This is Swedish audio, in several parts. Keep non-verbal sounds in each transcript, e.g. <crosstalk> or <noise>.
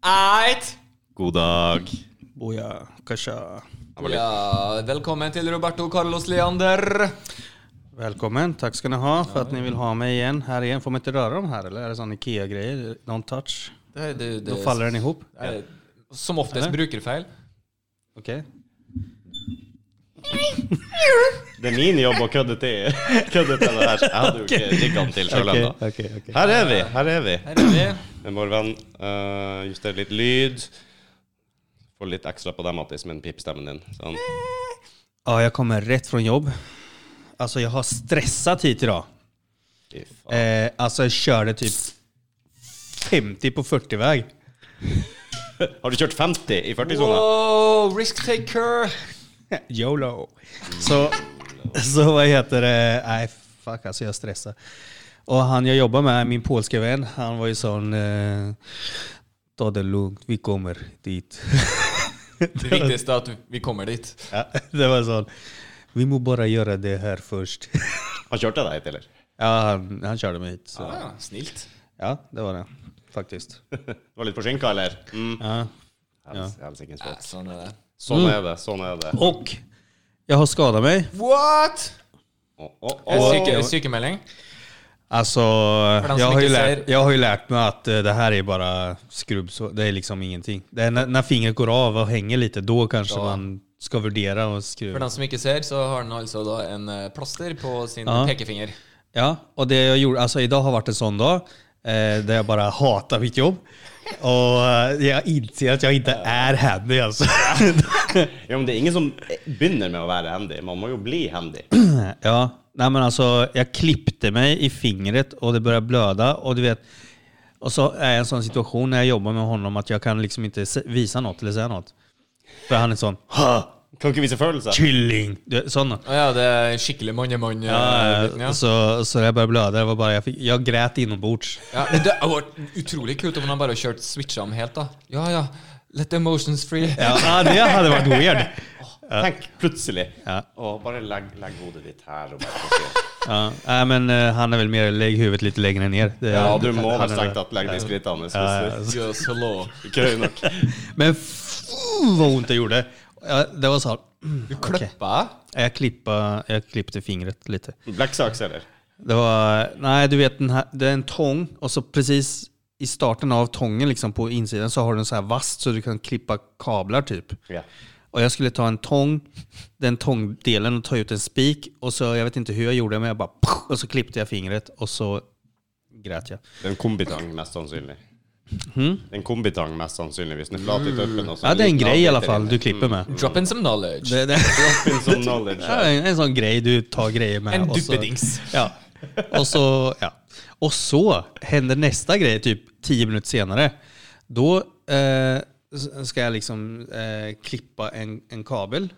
Ajt! God dag. Boja, kasha. Ja, välkommen till Roberto Carlos Leander. Välkommen, tack ska ni ha för att ni vill ha mig igen. Här igen, får man inte röra dem här eller? Är det sån IKEA-grejer? Don't touch? Det här, det, det, Då faller den ihop? det här, som oftast <clears throat> Eller? brukarfeil. Okej. Det är min jobb att kunna till. <laughs> Kunna till det här. så Jeg <laughs> hadde jo ikke rikket til selv ennå. Her er vi. Her er vi. Här är vi. Men Morven, uh, juster litt lyd. Få litt ekstra på deg, Mattis, med den pipstemmen din. Sånn. Ja, jag kommer rätt från jobb. Alltså jag har stressat hit idag. Fy faen. Eh, alltså jag körde typ 50 på 40-väg. Har du kjørt 50 i 40-sona? Wow, risk <laughs> taker. YOLO. Så, så vad heter det? Nej, fuck alltså jag stressar. Och han jag jobbar med, min polska vän, han var ju sån... Eh, Ta det lugnt, vi kommer dit. <laughs> Det viktigaste är att vi kommer dit. Ja, det var sån... Vi må bara göra det här först. <laughs> Han kjørte deg hit, eller? Ja, han, han körde mig hit. Så. Ah, snilt. Ja, det var det. Faktiskt. Du var litt forsinka, eller? Mm. Ja. Hels- Helsikens Ja, Mm. folk. sån är det. Sånn er det. Sånn er det. Och jag har skadat mig. What? Å, å, å. En psyke, sykemelding? Alltså, den som jag har, ju inte lärt, ser- jag har ju lärt mig att eh, det här är bara skrubb, så det är liksom ingenting. Det är när, när fingret går av och hänger lite, då kanske man ska värdera och För skruva. den som inte ser så har han alltså då en eh, plåster på sin Ja. pekefinger. Ja, och det jag gjorde, alltså idag har varit en sån dag eh, där jag bara hatar mitt jobb. Och eh, jag inser att jag inte är handy alltså. Ja, men det er ingen som begynner med å være handy. Man må jo bli <clears throat> handy. ja, nej men alltså jag klippte mig i fingret och det började blöda och du vet och så är jag i en sån situation när jag jobbar med honom att jag kan liksom inte se- visa något eller säga något. För han är sån ha, Kan ikke vise følelser. kylling, du vet, sån. Eh, Ah, ja, det är skicklig man i man. Ja, ja. Så, så jag började blöda, det var bara, jag, fick, jag grät inombords. Ja, men det har vært utrolig kult om han bare har kjørt switcha om helt, da. Ja, ja. Let the emotions <laughs> free. Ja, ah, det hade varit weird. Tenk plutselig. Ja. Å, bare legg, legg hodet ditt her. Og bare Ja, nej, men eh, han är väl mer lägg huvudet lite längre ner. Det- ja, du må han vel är- strengt tatt legge de skrittene. hvis Ja, ja. du- Yes, hello. Ikke høy nok. Men f- vad ont det gjorde. Ja, Det var så här, <clears throat> Du Okej. klippa? jag, klippa, jag klippte fingret lite. Blekksaks, eller? Det var, nej du vet, den här, det är en tång och så precis i starten av tången liksom på insidan så har du en så här vass så du kan klippa kablar typ. Ja. Och jag skulle ta en tång, den tångdelen och ta ut en spik och så, jag vet inte hur jag gjorde men jag bara och så klippte jag fingret och så grät jag. Det er en kombitang, mest sannsynlig. Det er En kombitang, mest sannsynlig, hvis den er flat i toppen. og så Hmm? Ja det är en liten grej i alla avbiter fall inne. du klipper med. Mm. Drop in some knowledge. Det, det, <laughs> Fin som knowledge. det är en, en sån grej du tar grejer med. En och så- duppedings. Ja. Och så, ja. och så händer nästa grej typ tio minuter senare. Då eh, s- ska jag liksom eh, klippa en, en kabel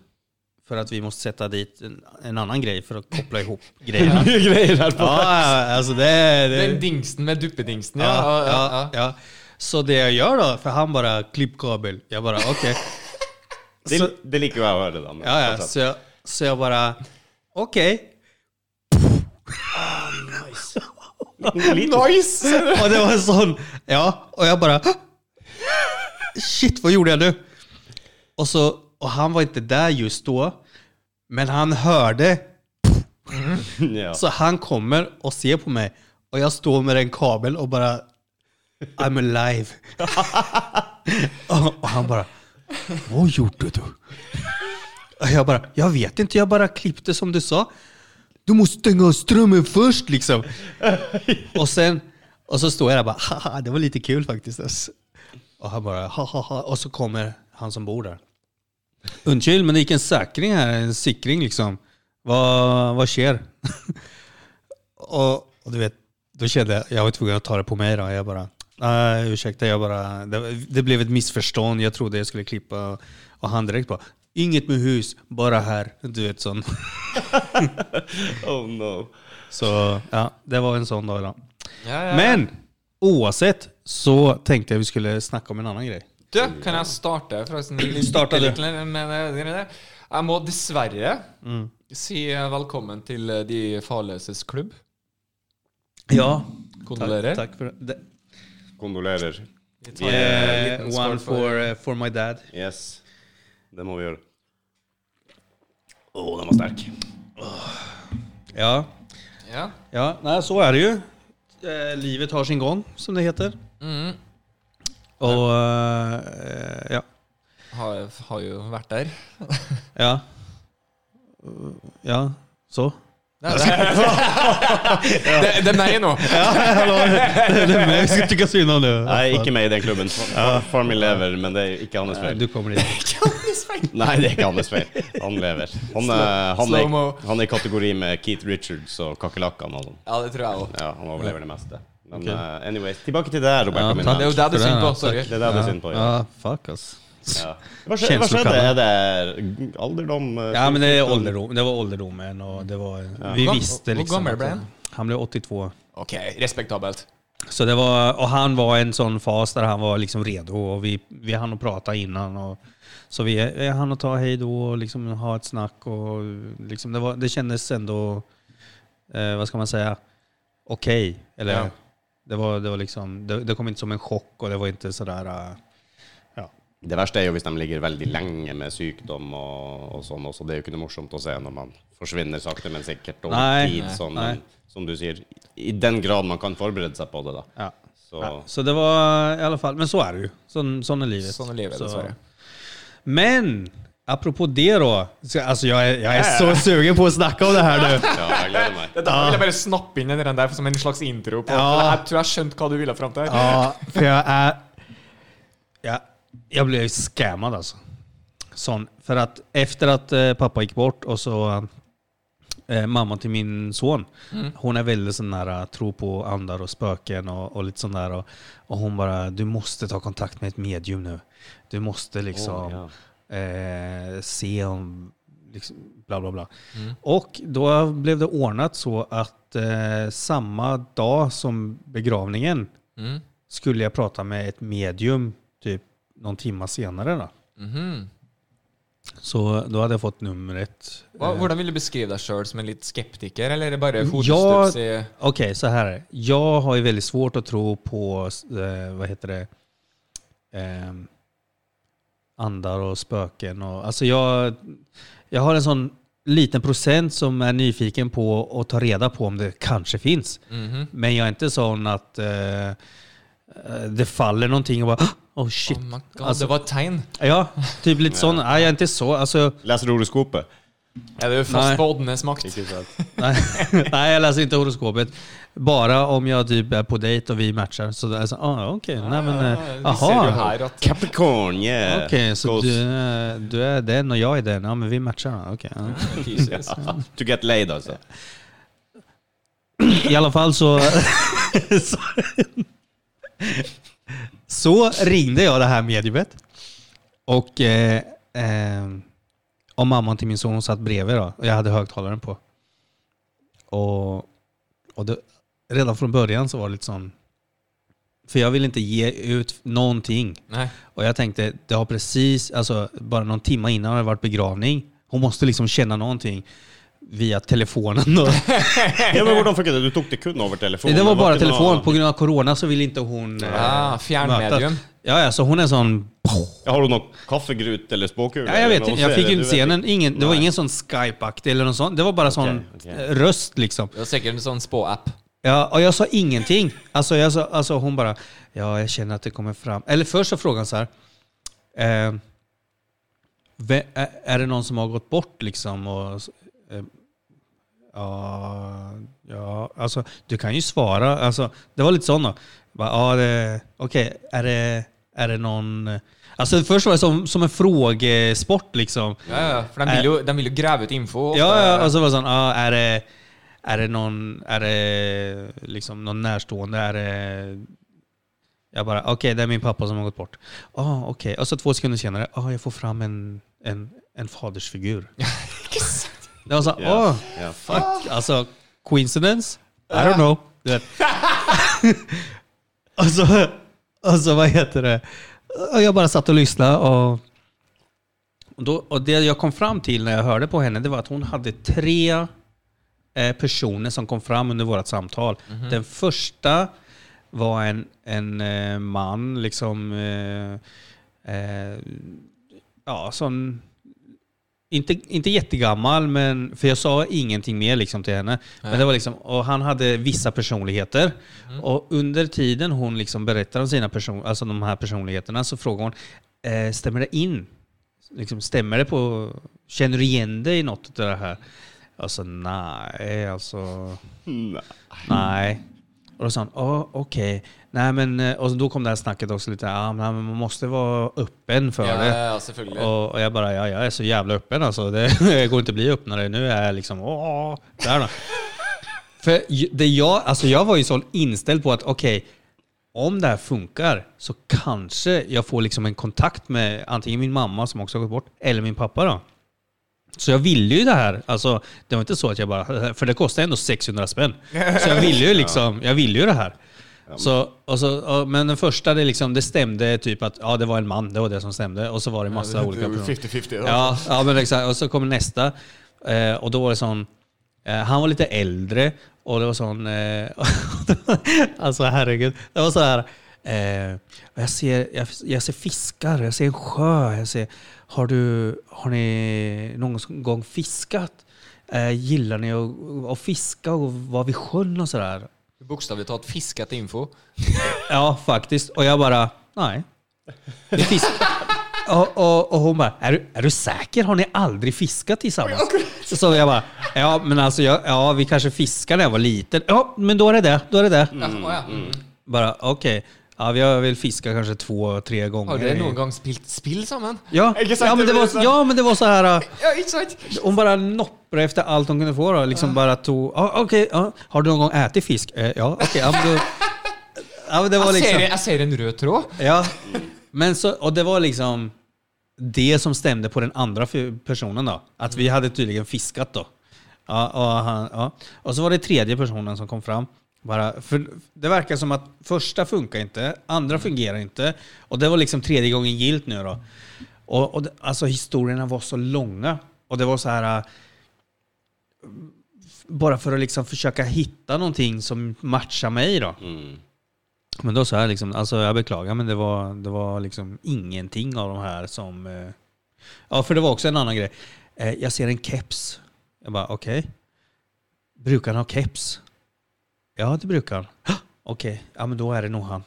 för att vi måste sätta dit en, en annan grej för att koppla ihop grejerna. Mye greier her på. Ja, alltså det är... Det, Den dingsen med duppedingsen, ja. ja, ja, ja, ja. Så det jag gör då, för han bara klipp kabel. Jag bara okej. Det, Så- det liker jo jeg å høre, da. men Ja, ja, fortsatt. så jag, så jag bara, okej. Nice! <laughs> Och det var en sån, ja, och jag bara, shit vad gjorde jag nu? Och, så, och han var inte där just då, men han hörde, <laughs> Ja. så han kommer och ser på mig. Och jag står med en kabel och bara, I'm alive. <laughs> och, och han bara, vad gjorde du? Och jag bara, jag vet inte, jag bara klippte som du sa. Du måste stänga av strömmen först liksom. Och sen, och så står jag där och bara, haha, det var lite kul faktiskt. ass." Och han bara, ha ha ha. Och så kommer han som bor där. Undskyld, men det gick en säkring här, en sikring liksom. Vad, vad sker? och, och du vet, då kände jag, jag var tvungen att ta det på mig då. Jag bara, nej ursäkta, jag bara, det, det blev ett missförstånd. Jag trodde jag skulle klippa och han direkt bara, inget med hus, bara här. Du vet sån. <laughs> Oh no. Så ja, det var en sån dag idag. Ja, ja. Men oavsett så tänkte jag vi skulle snacka om en annan grej. Du, kan jeg starte? Forresten, Starta du. Jeg må dessverre Mm. si velkommen til De farløses klubb. Ja, Kondolerer. Tack för det. Kondolerer. Vi tar en Eh, liten skål one for, eh, for my dad. Yes. Det må vi gjøre. Å, den var sterk. Ja, ja. ja nej, så är det ju. Eh, livet har sin gång, som det heter. Mm. Och eh, ja. Har, har jo vært der. Ja. Ja, så. <laughs> Nei, Det det- det er meg nå. Det är mig vi ska tycka synd om nu. Jeg er ikke med i den klubben. Far min lever, men det er ikke hans Nej, feil. du kommer dit. Nei, det er ikke hans feil. Han lever. Han, er- han, er, Slow-mo. han er i kategori med Keith Richards og kakerlakkene og sånn. Ja, det tror jeg òg. Ja, han overlever det meste. Men Ok. eh, anyways, tilbake til deg, Roberto. Ja, min takk. Det er venn. jo det du For synger den, på. ja. Sorry. Det er det du er synd på. Ja. Ja, fuck ass. Ja. Hva skje- hva skjedde? Kjenslokallene. Er det alderdom? eh, Ja, men det, är ålderdom, det var ålderdomen och det var... Vi Hur gam- visste hur liksom... gammal att- blev han? Han blev 82. Ok, respektabelt. Så det var, och han var en sån fas där han var liksom redo och vi, vi hann att prata innan. Och, så vi eh, hann att ta hej då och liksom ha ett snack. Och liksom det, var, det kändes ändå, eh, vad ska man säga, okej. Eller Ja. det, var, det, var liksom, det, det kom inte som en chock og det var inte sådär... eh, ja. Det verste er jo hvis de ligger veldig lenge med sykdom og, og sånn også. Det er jo ikke noe morsomt å se når man forsvinner sakte, men sikkert over Nei, tid. nei, Sånn, nei. Som du sier, i den grad man kan forberede seg på det, da. Ja. Så Ja, så det var i alla fall, men så är det ju. Sån, sån är livet. Sånn er livet, Så- dessverre. Men, apropå det då. Så, alltså jag är, jag är så sugen på att snacka om det här <laughs> nu. ja, jeg gleder meg. Dette vil jeg bare snappe inn den der som en slags intro. på. Ja. Jeg tror jeg skjønte hva du ville fram til. Ja, för jag är... Jag, jag blev scammad alltså. Sån, för att efter att eh, pappa gick bort och så eh, mamma till min son, hon är väldigt sån där, eh, tro på andar och spöken och, och lite sån där. Och, och hon bara, du måste ta kontakt med ett medium nu. Du måste liksom Åh, eh, se om liksom, bla bla bla. Och då blev det ordnat så att eh, samma dag som begravningen Mm. skulle jag prata med ett medium typ någon timma senare. Då. Mhm. Så då hade jag fått Eh, numret. Hva, hvordan vil du beskrive deg sjøl? Som en litt skeptiker, eller er det bare Mm. Ja. hodestups i Okej, så här är det. Jag har ju väldigt svårt att tro på, eh, vad heter det, Ehm, andar och spöken. Och, alltså jag, jag har en sån liten procent som är nyfiken på att ta reda på om det kanske finns. Mhm. Men jag är inte sån att eh, eh, det faller någonting och bara oh shit. Oh my God, Alltså- det var et tegn. Ja, typ lite sån. Nej, jag är inte så. Alltså, Leser horoskopet. Er du Nei. fast på Odnes makt? Ikke sant? nej, <laughs> nej, jag läser inte horoskopet. Bara om jag typ är på dejt och vi matchar. Så det är så, ah, okej, nej men, eh, Vi ser jo aha. her at Capricorn, yeah! Okej, så Goes- du, är- du är den och jeg är den. Ja, men vi matchar. Okej. ja. Jesus. To get laid, alltså. altså. I alla fall så... så, så ringde jag det här mediumet. Och eh, eh, och mamman till min son hon satt bredvid då. Och jag hade högtalaren på. Och, och det, redan från början så var det lite sån... För jag vill inte ge ut någonting. Nei. Och jag tänkte, det har precis, alltså bara någon timme innan har det varit begravning. Hon måste liksom känna någonting via telefonen. Då. Ja, men hvordan funket det? Du tok det kun over telefonen? Det var bara ikke noe- telefon. På grund av corona så ville inte hon eh, Ah, fjernmedium. Ja, ja, så hon är sån... Ja, Har du noe kaffegrut eller spåkule? Ja, jag eller vet noe inte. Jag å se fick det? ju inte Du se vet den. Ingen, det var Nej. ingen sån Skype-aktig eller något sånt. Det var bara sån okej. eh, röst liksom. Det var sikkert en sånn spå-app. Ja, och jag sa ingenting. Alltså, jag sa, alltså hon bara, ja jag känner att det kommer fram. Eller först så frågade hon så här, eh, ve- ä- är det någon som har gått bort liksom? Och, s- eh, ja, ja, alltså du kan ju svara. Alltså, det var lite sådana. Ja, det- Okej, är, det, är det någon... Alltså först var det som, som en frågesport liksom. Ja, ja, for de vil, jo, de vil jo grave ut info. Ja, ja, och så var det sån, ja, ah, är det, Är det någon, är det liksom någon närstående? Är det... Jag bara, okej det är min pappa som har gått bort. Ah, okej. Och så två sekunder senare, ah, jag får fram en, en, en fadersfigur. <laughs> Det var så, Ja, ah, ja. fuck. Alltså, coincidence? I don't know. Du vet. <laughs> och, så, och så, vad heter det? Och jag bara satt och lyssnade och, och, då, och det jag kom fram till när jag hörde på henne, det var att hon hade tre eh, personer som kom fram under vårt samtal. Den första var en, en eh, man, liksom, eh, eh, ja, som inte, inte jättegammal, men, för jag sa ingenting mer liksom, till henne. Men det var liksom, och han hade vissa personligheter. Mm. Och under tiden hon liksom berättar om sina person, alltså de här personligheterna så frågar hon, eh, stämmer det in? Liksom, stämmer det på, känner du igen dig i något av det här? Alltså nej, alltså... Nej. Och då sa han, ja okej. Nej men, eh, och då kom det här snacket också lite, ja men man måste vara öppen för Ja, det. ja, selvfølgelig. Och, och jag bara, ja, jag är så jävla öppen alltså. Det, <laughs> det går inte att bli öppnare. Nu är jag liksom, åh, där då. För ju- det jag, alltså jag var ju så inställd på att okej, om det här funkar så kanske jag får liksom en kontakt med antingen min mamma som också har gått bort, eller min pappa då. Så jag ville ju det här. Alltså, det var inte så att jag bara... För det kostade ändå 600 spänn. Så jag ville ju liksom... Jag ville ju det här. Så, och så, och, men den första, det, liksom, det stämde typ att ja, det var en man, det var det som stämde. Och så var det massa olika Det är ju personer. 50-50. då. Ja, ja, men exakt. Och så kom nästa. Eh, och då var det sån... Eh, han var lite äldre och det var sån... Eh, <laughs> alltså herregud. Det var så här... Eh, jag, ser, jag, jag ser fiskar, jag ser en sjö. Jag ser, har, du, har ni någon gång fiskat? Eh, gillar ni att, att fiska och vara vid sjön och sådär? Bokstavligt talat fiskat info. Ja, faktiskt. Och jag bara, nej. Det finns... <laughs> Och, och, och hon bara, är du, är du säker? Har ni aldrig fiskat tillsammans? Så jag bara, ja men alltså jag, ja, vi kanske fiskade när jag var liten. Ja, men då är det det. Då är det det. Ja, ja. Bara, okej. Ja, vi har väl fiskat kanske två, tre gånger. Har dere i- noen gang spilt spill sammen? Ja, Exakt, ja, men det det blir var, så. ja, men det var så här... äh, Ja, ikke sant? Hon bara nopprade efter allt hon kunde få. Då. Liksom bara tog, ja, okej, ja. har du någon gång ätit fisk? Eh, ja, okej. ja, men då- ja, men det var Jeg liksom... ser, jeg ser en rød tråd. Ja. <laughs> Men så, och det var liksom det som stämde på den andra f- personen då. Att vi hade tydligen fiskat då. Ja, och, han, ja. och så var det tredje personen som kom fram. Bara, för det verkar som att första funkar inte, andra fungerar inte. Och det var liksom tredje gången gilt nu då. Och, och det, alltså historierna var så långa. Och det var så här... äh, Bara för att liksom försöka hitta någonting som matchar mig då. Men då sa jag liksom, alltså jag beklagar men det var, det var liksom ingenting av de här som... eh, Ja, för det var också en annan grej. Eh, Jag ser en keps. Jag bara, okej. Brukar han ha keps? Ja, det brukar han. <gasps> "Hå! Okej, ja men då är det nog han.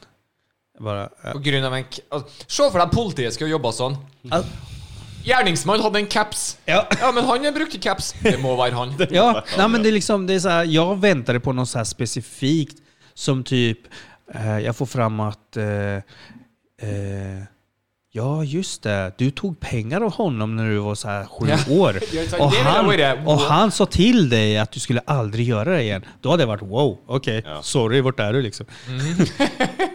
Jag bara, eh, På grunn av en k altså, Se for deg politiet skulle jobba sånn. al- Gjerningsmannen hadde en caps. ja. Ja, men han brukte caps. Det må være han. <laughs> <laughs> Ja, nej, men det är liksom, det är så här, jag väntade på något så här specifikt som typ, eh, jag får fram att, eh, eh, ja just det, du tog pengar av honom när du var så här sju Ja. år. <laughs> Jag sa, Och "Det vill jag vara." han, Wow. och han sa till dig att du skulle aldrig göra det igen. Då hade jag varit wow, okej, Ja. sorry, vart är du liksom?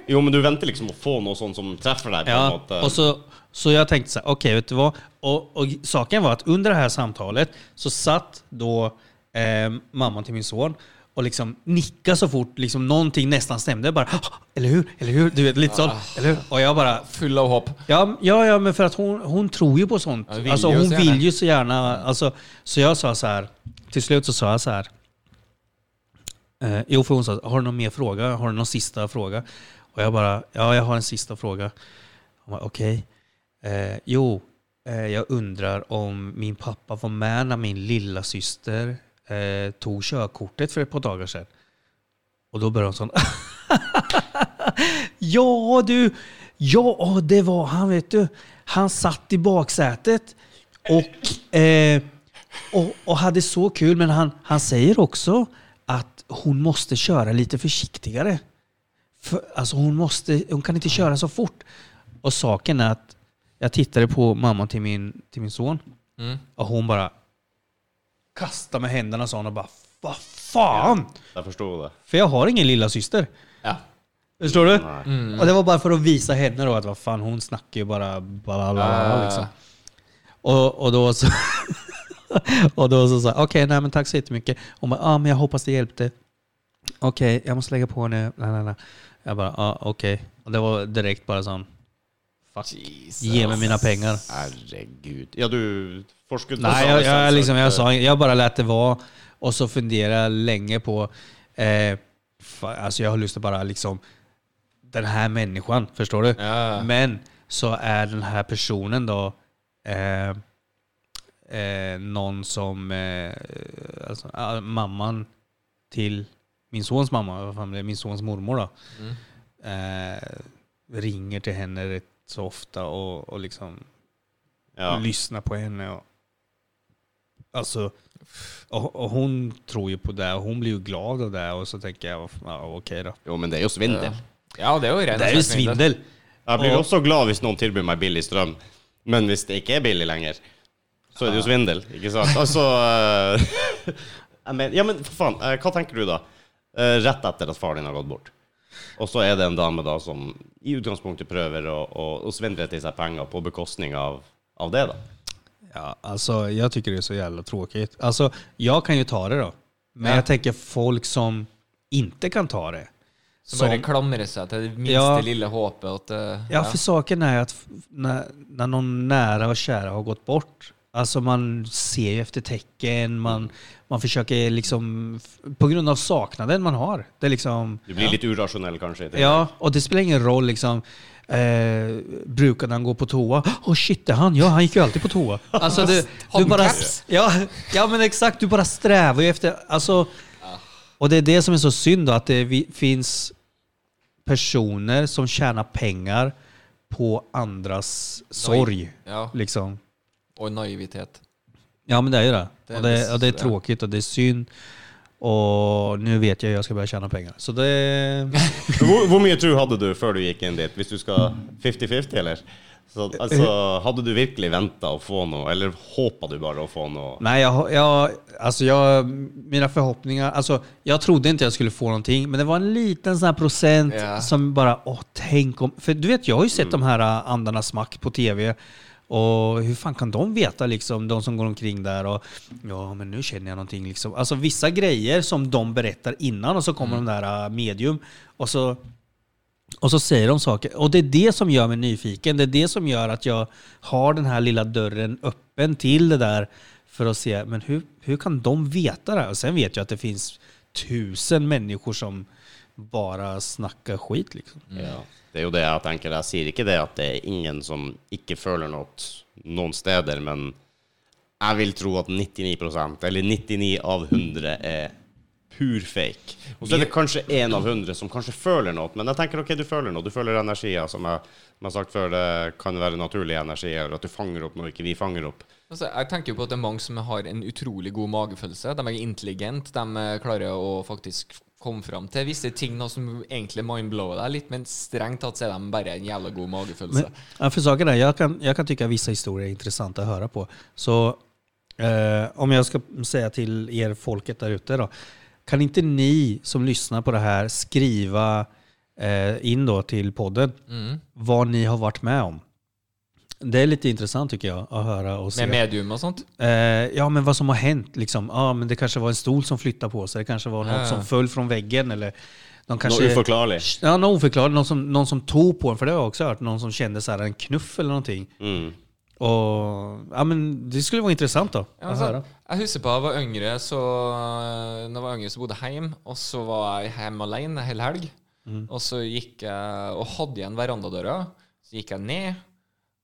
Jo, men du venter liksom å få noe sånt som treffer deg på eh, en Ja, måte. och så, så jag tänkte så här, okej, vet du vad? Och, och saken var att under det här samtalet så satt då eh, mamman till min son och liksom nickade så fort liksom någonting nästan stämde. Jag bara, "Ah, eller hur? Eller hur? Du vet, lite sån. Eller hur? Och jag bara, Full av håp. ja, ja, ja men för att hon, hon tror ju på sånt. Ja, vill alltså, ju hon så gärna. vill ju så gärna. Alltså, så jag sa så här, till slut så sa jag så här. Eh, jo, för hon sa, har du någon mer fråga? Har du någon sista fråga? Och jag bara, ja, jag har en sista fråga. Hon bara, okej. Eh, jo, eh, jag undrar om min pappa var med när min lilla syster eh, tog körkortet för ett par dagar sedan. Och då började hon sån, <laughs> Ja du, ja det var han vet du. Han satt i baksätet och, eh, och, och hade så kul. Men han, han säger också att hon måste köra lite försiktigare. För, alltså hon, måste, hon kan inte köra så fort. Och saken är att jag tittade på mamman till min, till min son och hon bara kastade med händerna och sa hon och bara Vad fan! Jag förstod det. För jag har ingen lilla syster. Ja. Förstår du? Nej. Och det var bara för att visa henne då att vad fan hon snackar ju bara blablabla Ah. liksom. Och, och då så... <laughs> och då så sa jag, okej nej men tack så jättemycket. Hon bara, ja ah, men jag hoppas det hjälpte. Okej, jag måste lägga på nu. Nej, nej, nej. Jag bara, ja ah, okej. Och det var direkt bara sån, fuck, Jesus. ge mig mina pengar. Herregud. Ja, du forskade Nej, jag, jag, liksom, jag, sa, jag bara lät det vara och så funderade jag länge på... Eh, fa- alltså jag har lust att bara liksom... Den här människan, förstår du? Ja. Men så är den här personen då eh, eh, någon som... Eh, alltså, ah, mamman till min sons mamma, vad fan blir det? min sons mormor då. Eh, ringer till henne rätt så ofta och, och liksom Ja. lyssna på henne. Och, alltså, och, och hon tror ju på det och hon blir ju glad av det och så tänker jag, vad fan, ja, okej då. Jo, men det är ju svindel. Ja, det var ju rent Det är ju svindel. Jag blir Och- också glad hvis noen tilbyr meg billig strøm, men hvis det ikke er billig lenger, så er det jo svindel, ikke sant? Altså eh, <laughs> jeg men, Ja, men for faen, eh, hva tenker du da? Eh, Rett etter at faren din har gått bort. Og så er det en dame da som i utgangspunktet prøver å, å, å svindle til seg penger på bekostning av, av det, da. Ja, alltså, jag tycker det är så jävla tråkigt. Alltså, jag kan ju ta det då. Men Ja. jag tänker folk som inte kan ta det. Som Som- bare klamrer seg til det minste Ja. lille håpet at eh, Ja, för saken är att f- när, när någon nära och kära har gått bort, alltså man ser ju efter tecken, man, man försöker liksom, f- på grund av saknaden man har. Det är liksom, Du blir litt urasjonell, kanskje. i tillegg. Ja, och det spelar ingen roll liksom. Eh, brukade han gå på toa? Åh shit, det är han. Ja, han gick ju alltid på toa. Alltså, du, du bara, Handkaps. ja, ja, men exakt. Du bara strävar ju efter... Alltså, och det är det som är så synd då, att det vi- finns personer som tjänar pengar på andras sorg. Ja. Liksom. Og naivitet. Ja, men det är ju det. Det är och, det, precis och det är det. tråkigt och det är synd. Och nu vet jag hur jag ska börja tjäna pengar. Så det... <laughs> Hvor, hvor mye tro hadde du før du gikk inn dit, hvis du skal 50-50, eller? Så, altså, Eh, hadde du virkelig venta å få noe, eller håpa du bare å få noe? Nej, jag, jag, alltså jag, mina förhoppningar, alltså jag trodde inte jag skulle få någonting, men det var en liten sån här procent Ja. som bara, åh tänk om, för du vet jag har ju sett de här ä, andarnas makt på tv, och hur fan kan de veta liksom, de som går omkring där och ja men nu känner jag någonting liksom. Alltså vissa grejer som de berättar innan och så kommer de där ä, medium och så och så säger de saker. Och det är det som gör mig nyfiken. Det är det som gör att jag har den här lilla dörren öppen till det där för att se, men hur, hur kan de veta det här? Och sen vet jag att det finns tusen människor som bara snackar skit liksom. Ja. Det er jo det jeg tenker. Jeg sier ikke det at det er ingen som ikke føler noe noen steder, men jeg vil tro at 99 eller 99 av 100, er pur fake. Og så er det kanskje én av 100 som kanskje føler noe, men jeg tenker ok, du føler noe. Du føler energier, som jeg, som jeg har sagt før, det kan være naturlige energier, eller at du fanger opp noe ikke vi fanger opp. Altså, jeg tenker jo på at det er mange som har en utrolig god magefølelse. De er intelligente. De eh, klarer å faktisk komme fram til visse ting nå som egentlig mindblower deg litt, men strengt tatt så er de bare en jævla god magefølelse. Men, ja, för saken är, jag kan, jag kan tycka vissa historier är intressanta att höra på. Så eh, om jag ska säga till er folket där ute då. Kan inte ni som lyssnar på det här skriva eh, in då till podden vad ni har varit med om? Det är lite intressant tycker jag att höra och se. Med medium och sånt. Eh, ja, men vad som har hänt. Liksom. Ja, men det kanske var en stol som flyttade på sig. Det kanske var något Ja. som föll från väggen. Eller de kanske, Noe uforklarlig. Ja, någon oförklarlig. Någon som, någon som tog på en, för det har jag också hört. Någon som kände så här en knuff eller någonting. Mm. Och, ja, men det skulle vara intressant då. Ja, att altså, höra. jeg husker på jeg var yngre, så Når jeg var yngre, så bodde jeg hjemme, og så var jeg hjemme alene hele helg. Mm. Og så gikk jeg og hadde igjen verandadøra. Så gikk jeg ned,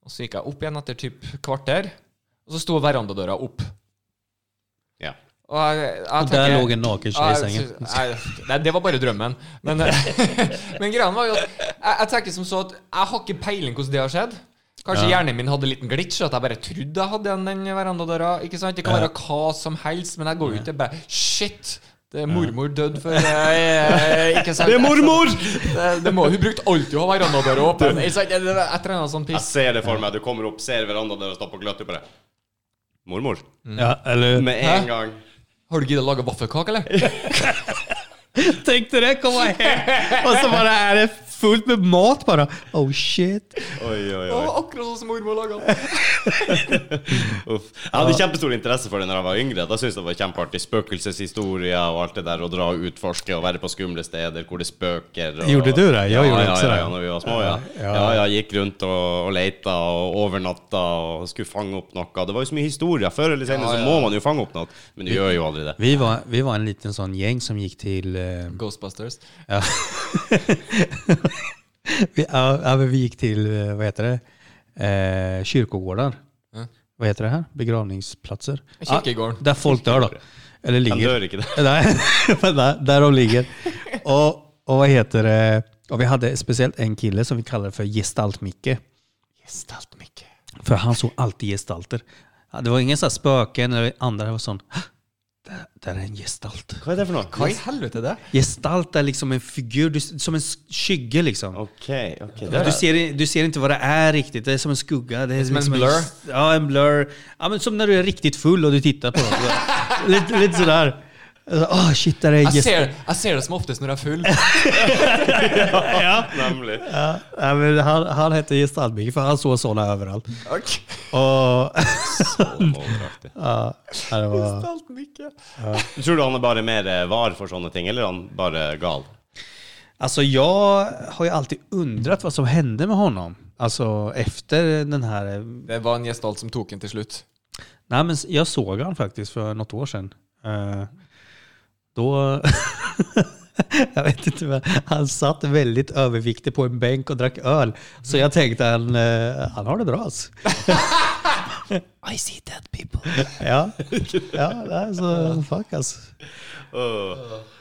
og så gikk jeg opp igjen etter typ kvarter. Og så sto verandadøra opp. Ja. Og, jeg, jeg Och där tenker- låg en naken tjej i eh, Ja, sängen. jeg- jeg- Nei, det var bare drømmen. Men, eh, <laughs> men greia var jo at jeg, jeg tenker som så at jeg har ikke peiling hvordan det har skjedd. Kanskje hjernen min hadde en liten glitch, at jeg bare trodde jeg hadde igjen den verandadøra. Ikke sant? Det kan være hva som helst, men jeg går jo ikke bare Shit! Det er mormor dødd for eh, ikke <laughs> sant? Det er mormor! Det, det må, hun brukte alltid å ha verandadøra <laughs> åpen. Ikke sant? Det- det- det- Etter en eller annen sånn Jeg piss. ser det for meg. Du kommer opp, ser verandaen der og står på gløtt. Du bare Mormor. Mm. <laughs> Ja, eller, Med en gang. Har du giddet å lage vaffelkake, eller? Tänkte det komma <laughs> hem och så bara är det fullt med mat bara. Oh shit. Oi, oi, Å, oi. <laughs> akkurat sånn som mormor laga den. Uff. Jeg hadde kjempestor interesse for det når jeg var yngre. Da syntes jeg det var kjempeartig. Spøkelseshistorier og alt det der. Å dra og utforske og være på skumle steder hvor det spøker. Og... Gjorde du det? Jeg ja, gjorde ja, også ja, det. ja, når vi var små, ja. Ja. Ja, ja, gikk rundt og, og leita og overnatta og skulle fange opp noe. Det var jo så mye historier. Før eller Ja, senere ja. så må man jo fange opp noe. Men du gjør jo aldri det. Vi var, vi var en liten sån gäng som gick till... eh, Ghostbusters. ja. vi, ja, ja, men vi gick till, eh, vad heter det, eh, kyrkogårdar. Ja. Vad heter det här? Begravningsplatser. Kirkegården. Ja, där folk dör då. Eller De ligger. dør <laughs> ikke der. Nej, <laughs> men där, där de ligger. Och, och vad heter det? Och vi hade speciellt en kille som vi kallade för Gestalt-Micke. Gestalt mycket. För han såg alltid gestalter. Ja, Det var ingen så här spöken eller andra. Det var sånn "Hä? där, där är en gestalt. Hva er det for noe? Hva i helvete er det? Gestalt är liksom en figur, du, som en sk- skygge liksom. Ok, ok. Det er Du ser, du ser inte vad det är riktigt, det är som en skugga. Det är som en liksom blur. ja, en blur. Ja, men som när du är riktigt full og du tittar på något. <laughs> lite, lite sådär. Åh shit, där är en Jeg gestalt. ser, jeg ser det som oftest når jeg er full. nemlig. Ja, ja, men han, han hette Gestaltmicke för han såg såna överallt. <laughs> Och, Overaktig. ja, det var... Gestalt mycket. Tror du han er bare mer eh, var for sånne ting, eller er han bare gal? Alltså jag har ju alltid undrat vad som hände med honom. Alltså efter den här... Det var en gestalt som tok den til slutt. Nej men jag såg han faktiskt för något år sedan. Eh, Då... <laughs> jag vet inte men Han satt väldigt överviktig på en bänk och drack öl. Så jag tänkte han, eh, han har det bra alltså. <laughs> <laughs> I see dead people. Ja, ja nej, så fuck alltså.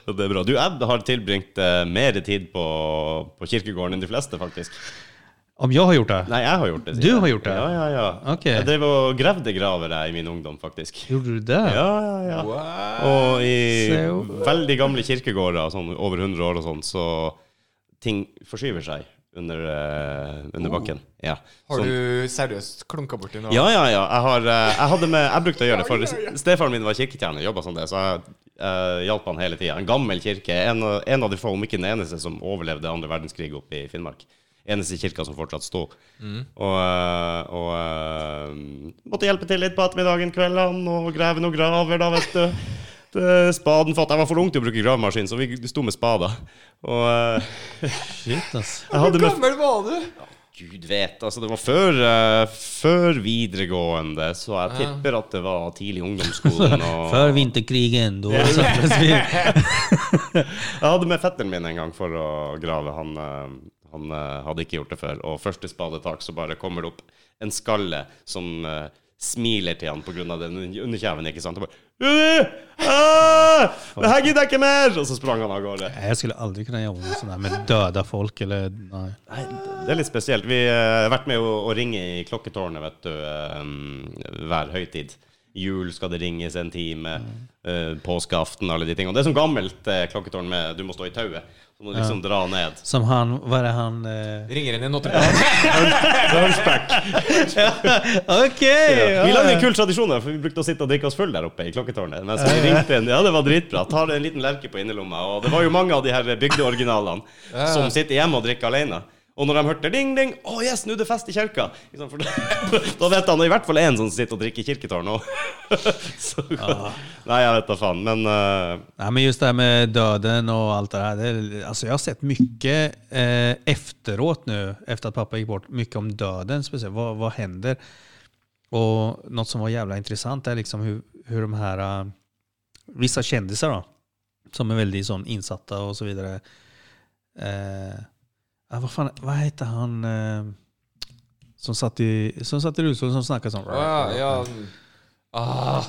det er bra. Du, jeg har tilbringt eh, mer tid på, på kirkegården enn de fleste, faktisk. Om jag har gjort det? Nei, jeg har gjort det. sier Du jeg. har gjort det? Ja, ja, ja. Ok. Jeg drev og gravde graver jeg, i min ungdom, faktisk. Gjorde du det? Ja, ja, ja. Wow. Og i Så- veldig gamle kirkegårder, sånn over 100 år og sånn, så ting forskyver seg under, eh, under bakken. Ja. Har Sånn- du seriøst klunka borti noe? Ja, ja, ja. Jeg, har, eh, jeg, hadde med, jeg brukte å gjøre det, for stefaren min var kirketjener, jobba som det, så jeg eh, hjalp han hele tida. En gammel kirke. En, av- en av de få, om ikke den eneste, som overlevde andre verdenskrig oppe i Finnmark. Eneste kirka som fortsatt sto. Og, eh, og eh, måtte hjelpe til litt på ettermiddagen, kveldene, og grave noen graver, da, vet du. Det- Spaden fatt. Jeg var for ung til å bruke gravemaskin, så vi sto med spader. Og eh, Shit alltså. altså. jeg Hvor hadde med gammel var du? Gud vet, altså det var før, eh, før videregående, så jeg tipper at det var tidlig ungdomsskolen. Og <laughs> För vinterkrigen då samlades vi. jeg hadde med fetteren min en gang for å grave. Han, eh, han eh, hadde ikke gjort det før. Og første spadetak så bare kommer det opp en skalle som eh, smiler til han pga. den un- underkjeven, ikke sant? Og bare «Øh! Ah! Det her gidder jeg ikke mer! Og så sprang han av gårde. Nej, jag skulle aldrig kunna jobba med sådär med döda folk eller... Nej. Nei, det er litt spesielt. Vi eh, har vært med å, å ringe i klokketårnet vet du, eh, hver høytid. Jul skal det ringes en time, eh, påskeaften, alle de tingene. Og det er sånn gammelt eh, klokketårn med du må stå i tauet. Så må du liksom dra ned. Som han, vad är det han... Eh... Ringer inn i <laughs> Notre-Dame. Okej! Vi lagde en kul tradisjon der, for vi brukte å sitte og drikke oss full der oppe i klokketårnet. Mens vi ringte en, ja, det var dritbra. Tar en liten lerke på innerlomma. Og det var jo mange av de her bygdeoriginalene som sitter hjemme og drikker alene. Og når de hørte ding, ding, å yes, nå er det fest i Liksom, kirka. Ikke <laughs> sant, For da, da vet han i hvert fall én som sitter og drikker i <laughs> kirketårnet òg. Nei, jeg vet da faen. Men eh, Nej, men just det här med döden och allt det här. Det, är- alltså jag har sett mycket eh, efteråt nu, efter att pappa gick bort, mycket om döden speciellt. Vad, vad händer? Och något som var jävla intressant är liksom hur, hur de här, eh, vissa kändisar då, som är väldigt sån insatta och så vidare. Eh, ja, vad, fan, vad hette han eh, som satt i, som satt i rullstol som snackade sånt? Å, ja, ja. Ah,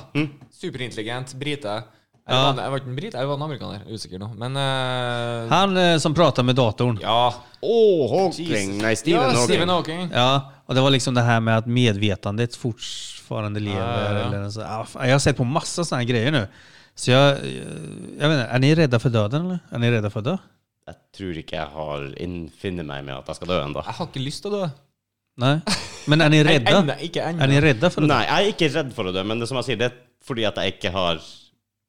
superintelligent brite. Eller Ja. var han- Jeg var ikke en brite, jeg var en amerikaner. Jeg er Usikker nå. Men eh, Han eh, som pratar med datorn. ja. Åh, Hawking! Nei, Stephen ja, Hawking. Stephen Hawking. Ja, och det var liksom det här med att medvetandet fortfarande Ja, lever. ja, ja. Eller så. Ah, fan, Jag har sett på massa sådana grejer nu. Så jag, eh, jag vet inte, är ni rädda för döden eller? Är ni rädda för att dö? Jeg tror ikke jeg har innfinner meg med at jeg skal dø ennå. Jeg har ikke lyst til å dø. Nej? <laughs> Men är ni rädda? Ennå, ikke Är ni ennå. rädda för att dö? Nei, jeg er ikke redd for å dø, men det er som jeg sier, det er fordi at jeg ikke har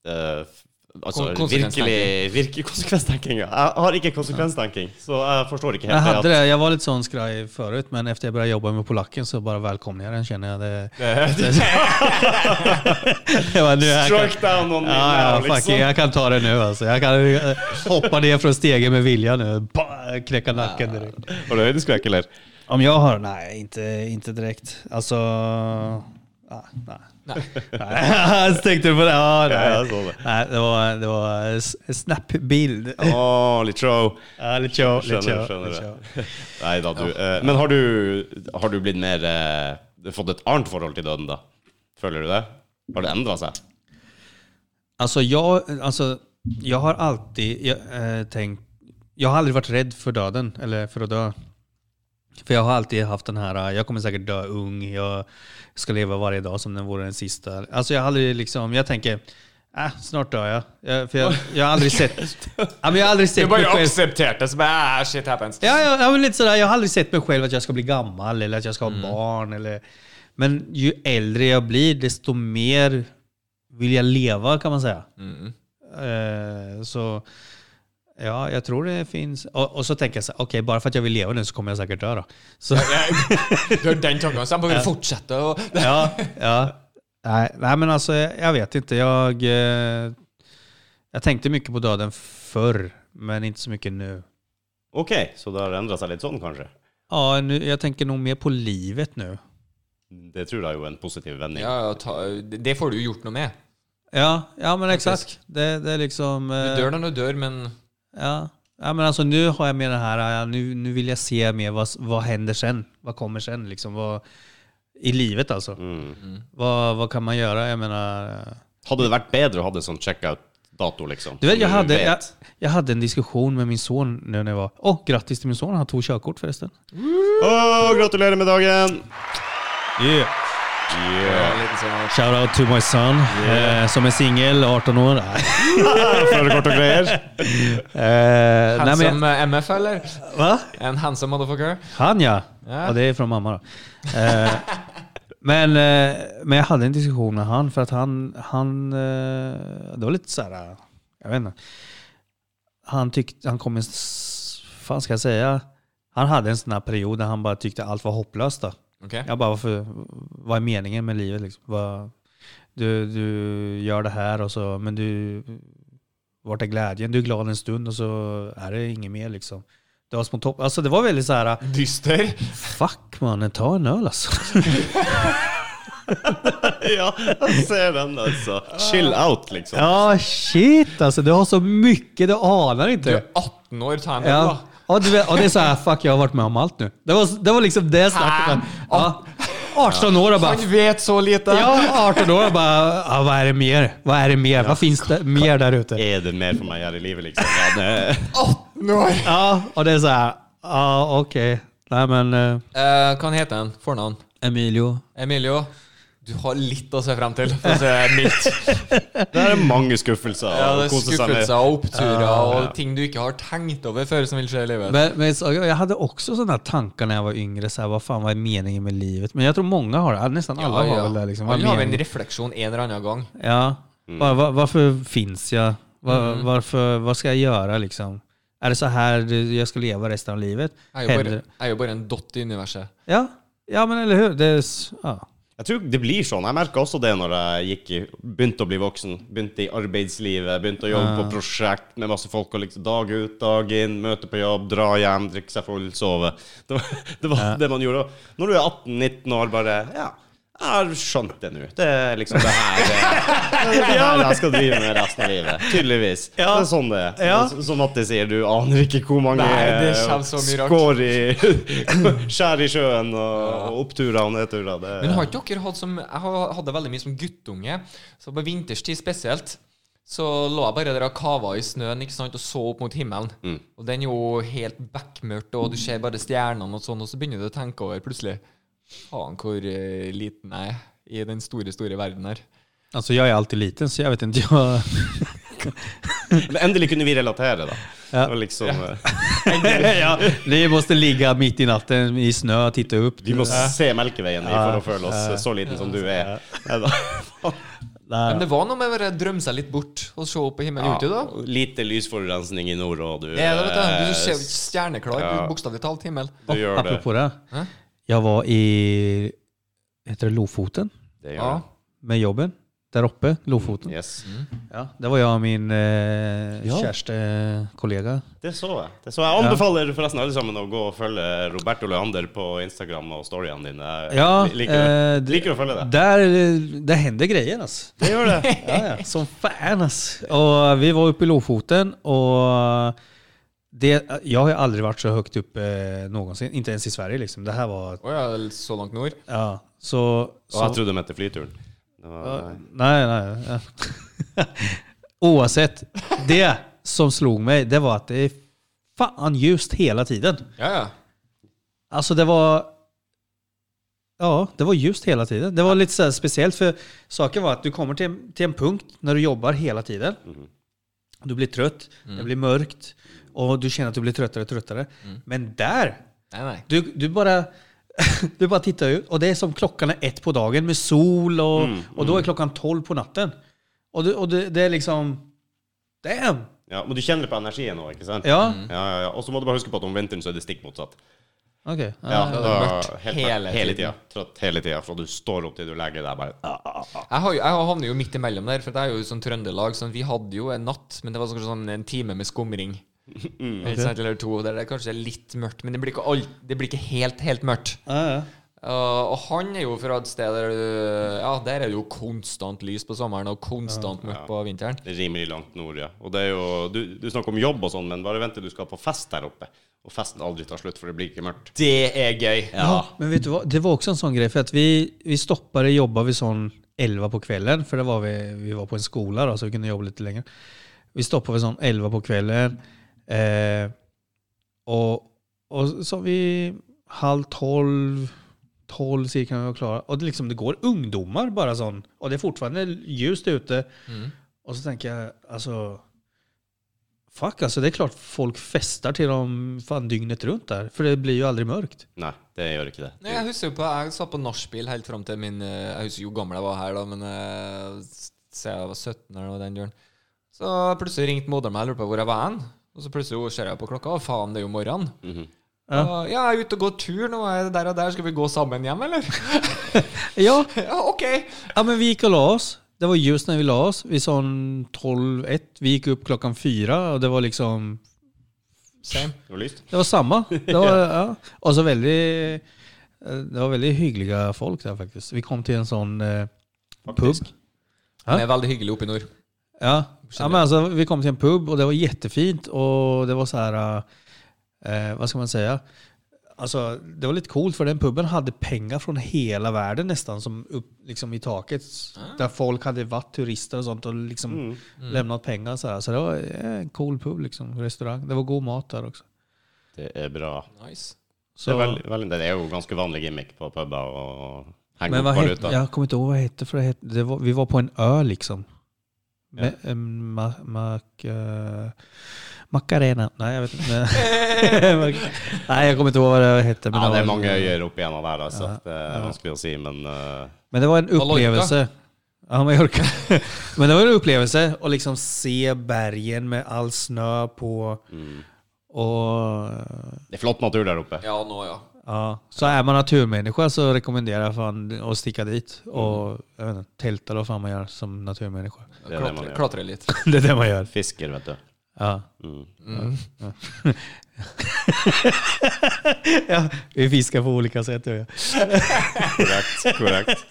eh, f- altså, Kon- virkelig, virkelig konsekvenstenking. ja. Jeg har ikke konsekvenstenking, så jeg forstår inte Jag helt hade det. det, jag var lite sån skraj förut, men efter jag började jobba med polacken så bara välkomnar jag den känner jag. Det, jag bara, nu är At, jag strike down on me Ja, ja now, fuck, it, liksom. jag kan ta det nu alltså. Jag kan eh, hoppa ner från stegen med vilja nu. Bah, knäcka nacken direkt. Har du höjdeskräck eller? Om jag har? Nej, inte, inte direkt. Alltså... Ah, nej. Nej. nej. <laughs> Jag tänkte på det. Ah, Ja, nej. jag såg det. nej, det var, det var s- en snap-bild. Åh, lite show. Ja, lite show, lite show, Skjønner, skjønner lite det. show. <laughs> Nei da, du. eh, Men har du, har du blitt mer eh, Fått et annet forhold til døden, da? Føler du det? Har det endra seg? Alltså jag, alltså, jag har alltid jag, eh, tänkt... Jag har aldrig varit rädd för döden, eller för att dö. För jag har alltid haft den här, eh, jag kommer säkert dö ung, jag ska leva varje dag som den vore den sista. Alltså jag har aldrig liksom, jag tänker, äh, snart dör jag. jag för jag, jag har aldrig sett, ja, men jag har aldrig Du sett <laughs> bare mig själv. aksepterte det som ah, shit happens. Ja, ja, ja men lite sådär, jag har aldrig sett mig själv att jag ska bli gammal eller att jag ska ha barn. Eller, men ju äldre jag blir, desto mer vill jag leva kan man säga. Mm. Eh, så ja, jag tror det finns. Och, och så tänker jag så här, okej, bara för att jag vill leva nu så kommer jag säkert dö då. Så, Du har den tanken, så han bare vil fortsette å <laughs> ja, ja. Nej, nej, men alltså jag, jag vet inte. Jag, eh, jag tänkte mycket på döden förr, men inte så mycket nu. Ok, så det har endra seg litt sånn, kanskje? Ja, nu, jag tänker nog mer på livet nu. Det tror jeg er jo en positiv vending. ja, ja, ta, Det får du gjort noe med. Ja, ja men exakt. Faktiskt. Det, det är liksom... Du eh, dør når du dør, men Ja. ja, men alltså nu har jag med den här, ja, nu, nu vill jag se mer vad, vad händer sen. Vad kommer sen liksom? Vad, I livet alltså. Mm. Vad, vad kan man göra? Jag menar... eh, Hadde det vært bedre å ha det sånn checkout-dato, liksom? Du vet, Som jag hade, vet. jag, jag hade en diskussion med min son nu när jag var... Åh, grattis till min son, han tog körkort förresten. Åh, gratulerer med dagen! Yeah. Yeah. Litt sånn- Shout out to my son, eh, som är singel, 18 år. <laughs> Nej. Førerkort og greier. eh, nej, men, Handsome eh, MF, eller? va? En handsome motherfucker? Han ja. Ja. Och det är från mamma då. Eh, men, eh, men jag hade en diskussion med han för att han, han eh, det var lite så här, eh, jag vet inte. Han tyckte, han kom en, s- fan ska jag säga, han hade en sån här period där han bara tyckte allt var hopplöst då. Ok. Jag bara, varför, vad är meningen med livet liksom? Vad, du, du gör det här och så, men du, vart är glädjen? Du är glad en stund och så är det inget mer liksom. Det var små topp, alltså det var väldigt så här, Dyster? Fuck mannen, ta en öl alltså. ja, jeg ser den, altså. Chill out, <laughs> liksom. Ja shit alltså, du har så mycket du anar Du inte. er 18 år, ta en øl, Typ. Ja. da. Ja, du vet, och det är så här, fuck jag har varit med om allt nu. Det var, det var liksom det snacket. Ja. 18 år och bara, Han vet så lite! <laughs> ja 18 år och bara, ja, vad är det mer? Vad är det mer? Vad finns det mer där ute? Er det mer for meg her i livet, liksom? Ja, det... 18 år! Ja, och det är så här, ja okej. Nej men, eh, Eh, hva heter han? Fornavn? Emilio. Emilio? Du har litt å se frem til. For å se <laughs> mildt. det er mange skuffelser. Ja, det å er kose seg med. skuffelser og oppturer og ting du ikke har tenkt over før, som vil skje i livet. Men, men så, jag hade också sådana tankar när jag var yngre, så här, vad fan vad är meningen med livet? Men jag tror många har det, nästan alla har väl det. Liksom, vad är Alle har en meningen? refleksjon en eller annen gang. Ja. Mm. Var, var, varför finns jag? Var, varför, vad ska jag göra liksom? Är det så här du- jag ska leva resten av livet? Jeg er jo bare, Hellre- jeg er jo bare en dott i universet. Ja. ja, men eller hur? Det är, s- ja. Jeg tror det blir sånn. Jeg merka også det når jeg gikk i, begynte å bli voksen. Begynte i arbeidslivet, begynte å jobbe Ah. på prosjekt med masse folk. Og liksom Dag ut, dag inn, møte på jobb, dra hjem, drikke seg full, sove. Det var, det, Ah. var det man gjorde. Og når du er 18-19 år, bare Ja, jeg har skjønt det nå. Det er liksom det her eh, Det er det her jeg skal drive med resten av livet. Tydeligvis. Det er sånn det er. Ja. Men Som Matti sier, du aner ikke hvor mange Nei, det eh, kommer så mye rart. skår i <laughs> Skjær i sjøen og oppturer og nedturer. Det- Men har ikke dere hatt som Jeg har- hadde veldig mye som guttunge. Så på vinterstid spesielt så lå jeg bare der og kava i snøen ikke sant, og så opp mot himmelen. Og den er jo helt bekmørkt, og du ser bare stjernene og sånn, og så begynner du å tenke over plutselig Faen, hvor eh, liten jeg er i den store, store verden her. Alltså jag är alltid liten så jag vet inte. <laughs> Jag... Men endelig kunne vi relatere, da. Det var liksom, eh, ja, ni måste ligga mitt i natten i snö och titta upp. Vi må se Melkeveien i for å føle oss eh, så liten som du er. Neida. Nei, Men det var noe med å bare drømme seg litt bort og se opp på himmelen. Gjorde du det? Lite lysforurensning i nord, og du, Det er det, vet du. Du ser jo eh, ikke stjerneklar, Ja. bokstavelig talt, himmel. eh, du gjør det. Apropos det. Hæ? Jag var i, heter det Lofoten? Ja. det gjør Med jobben. Där uppe, det. Lofoten. Yes. Ja, det var jag och min eh, Ja. kärste kollega. Det så jeg. Det så jeg anbefaler forresten alle sammen å gå og følge Roberto Leander på Instagram og storyene dine. Jeg Ja, li- liker, eh, å- liker å følge det. Där, eh, där händer grejer alltså. Det gjør det. Ja, ja. Som fan alltså. Och vi var uppe i Lofoten och det, jag har ju aldrig varit så högt upp eh, någonsin. Inte ens i Sverige liksom. Det här var... Å ja, så langt nord? Ja, så... Og så jeg trodde de het flyturen. Det var, nei. Nej, nej. Ja. <laughs> Oavsett, det som slog mig det var att det är fan ljust hela tiden. Ja, ja. Alltså det var... Ja, det var ljust hela tiden. Det var lite så här speciellt för saken var att du kommer till en, till en punkt när du jobbar hela tiden. Du blir trött, det blir mörkt och du känner att du blir tröttare och tröttare. Men där Nei, nei. du, du bara... <laughs> Du bara tittar ut och det är som klockan är ett på dagen med sol och, och då är klockan tolv på natten. Och, du, och det, det är liksom... Damn! Ja, men du kjenner det på energien nå, ikke sant? Ja, Ja, ja, ja. Og så må du bare huske på at om vinteren så er det stikk motsatt. okej. Ja. Ja, det er da, mørkt helt hele mørkt. hele tida. tiden. Trøtt hele tida. Fra du står opp til du legger deg, bare Jeg, har, jo- jeg havner jo midt imellom der, for det er jo sånn Trøndelag. Sånn, vi hadde jo en natt, men det var sånn- kanskje sånn en time med skumring. Ikke sant, Eller to, der det er kanskje litt mørkt, men det blir ikke, all, det blir ikke helt, helt mørkt. Ja, ja. Uh, og han er jo fra et sted der du- Ja, der er det jo konstant lys på sommeren og konstant mørkt på vinteren. rimelig langt nord, ja. Og det er jo Du, du snakker om jobb og sånn, men bare vent til du skal på fest der oppe. Og festen aldri tar slutt, for det blir ikke mørkt. Det er gøy! Ja, men vet du vad? Det var också en sån grej för att vi, vi stoppade jobba vid sån 11 på kvällen för det var vi, vi var på en skola då, så vi kunde jobba lite längre. Vi stoppade vid sån 11 på kvällen eh, och, och så vi halv 12, 12 cirka när vi var klara. Och det, liksom, det går ungdomar bara sån och det är fortfarande ljust ute. Och så tänker jag alltså Fuck alltså, det är klart folk festar till dem fan dygnet runt där. För det blir ju aldrig mörkt. Nei, det gjør ikke det. Nei, jeg husker jo på Jeg satt på nachspiel helt fram til min eh, Jeg husker jo hvor gammel jeg var her, da, men eh, s- se, jeg var 17 eller noe den duren. Så plutselig ringte moderen meg og lurte på hvor jeg var hen. Og så plutselig ser jeg på klokka, og faen, det er jo morgenen. Mhm. Ja. Og, ja, jeg er ute og går tur nå, jeg er der og der. Skal vi gå sammen hjem, eller? <laughs> Ja, <laughs> ja, OK! Ja men vi gick och la oss. Det var ljust när vi la oss. Vi sa 12-1. Vi gick upp klockan fyra og det var liksom... Same. Det var lyst. Det var samma. Det var, ja. Och så väldigt... eh, Det var väldigt hyggliga folk där faktiskt. Vi kom till en sån eh, pub. Faktisk. Hæ? Det er veldig hyggelig oppe i nord. Ja. ja men alltså, vi kom till en pub och det var jättefint och det var så här... Eh, vad ska man säga? Alltså, det var lite coolt för den puben hade pengar från hela världen nästan som upp liksom, i taket. Där folk hade varit turister och sånt och liksom lämnat pengar. Så, här. så det var eh, en cool pub, liksom, restaurang. Det var god mat där också. Det er bra. Nice. Så, Det er, veldig, veldig, det er jo ganske vanlig gimmick på puber å henge men opp vad hette, valuta. jag kommer inte ihåg vad det hette, för det hette, det var, vi var på en ö liksom. Med, eh, ma, mak, eh, Macarena. Nej, jag vet inte. <laughs> Nej, jeg kommer inte ihåg vad det hette. Ja, det er var- mange øyer oppi en av eh, der, altså. Det er vanskelig å si, men eh, Men det var en Mallorca. upplevelse. Ja, Mallorca. <laughs> Men det var en upplevelse att liksom se bergen med all snö på. Mm. Och, det er flott natur der oppe. Ja, nå, ja. ja. Så är man naturmänniska så rekommenderar jag fan att sticka dit och Mm. jag vet inte, tälta eller vad fan man gör som naturmänniska. Det er det man Klatre, gjør. klatre litt. <laughs> Det är det man gör. Fisker, vet du. Ja. Mm. <laughs> Ja, vi fiskar på olika sätt. du och jag. Korrekt. korrekt.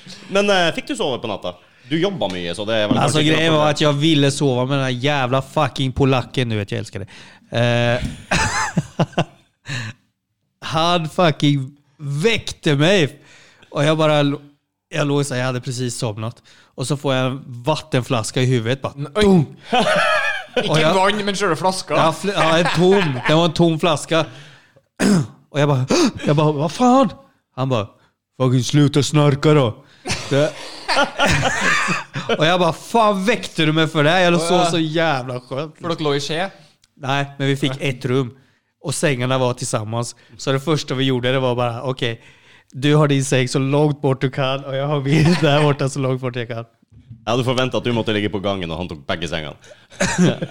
<laughs> Men eh, fikk du sove på natta? Du jobba mye, så det er vel Alltså kanskje ikke grejen noe var problem. att jag ville sova med den här jävla fucking polacken. Nu vet jag älskar det. Eh, <laughs> han fucking väckte mig. Och jag bara... Jag låg så här, jag hade precis somnat. Och så får jag en vattenflaska i huvudet. Bara, Oi! Å, Ikke ja. vann, men sjøle flaska. ja, fl- ja, en tom. Det var en tom flaska. Och jag bara, jag bara vad fan? Han bara, fucking sluta snarka då. Det. Och jag bara, fan väckte du mig för det här? Jag sov så jävla skönt. For dere lå i skje. Nej, men vi fick ett rum och sängarna var tillsammans. Så det första vi gjorde det var bara, okej, Du har din säng så långt bort du kan och jag har min där borta så långt bort jag kan. Jeg hadde forventa at du måtte ligge på gangen, og han tok begge sengene.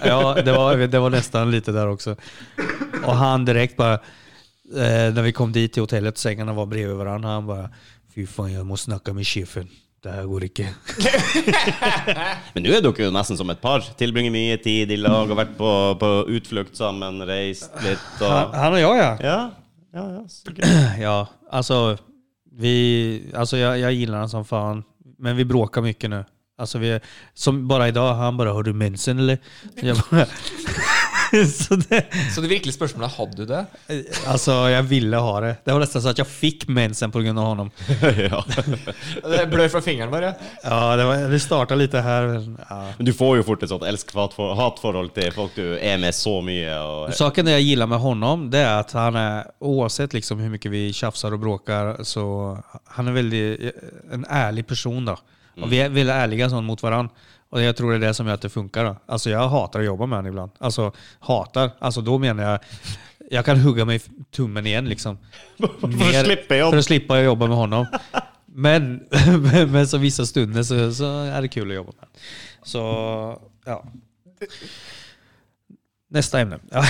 Ja, det var, det var nästan lite där också. Och han direkt bara, eh, när vi kom dit till hotellet, sängarna var bredvid varandra. Han bara, fy fan jag måste snacka med chefen. Det här går inte. Men nå er dere jo nesten som et par. Tilbringer mye tid i lag, har vært på, på utflukt sammen, reist litt Han, og han och jag ja. Ja, ja, ja sikkert. <clears throat> <laughs> Ja, alltså, vi, alltså jag, jag gillar honom som fan. Men vi bråkar mycket nu. Alltså vi, som bara idag, han bara, har du mensen eller? Jag bara, <laughs> så det, Så det virkelige spørsmålet er hadde du det. alltså jag ville ha det. Det var nästan så att jag fick mensen på grund av honom. ja. Det blør fra fingeren, bare. Ja, det, var, det startade lite här. men, Ja. Men du får jo fort et sånt elsk-hat-forhold til folk du er med så mye. Og, Saken det jag gillar med honom det är att han är, oavsett liksom hur mycket vi tjafsar och bråkar, så han är väldigt eh, en ärlig person. Då. Och vi är väldigt ärliga sånt mot varandra. Och jag tror det är det som gör att det funkar. Då. Alltså jag hatar att jobba med honom ibland. Alltså hatar. Alltså då menar jag, jag kan hugga mig i tummen igen liksom. för att slippa jobb. För att slippa jobba med honom. Men, <laughs> men, men så vissa stunder så, så är det kul att jobba med honom. Så, ja. Nästa ämne. Ja.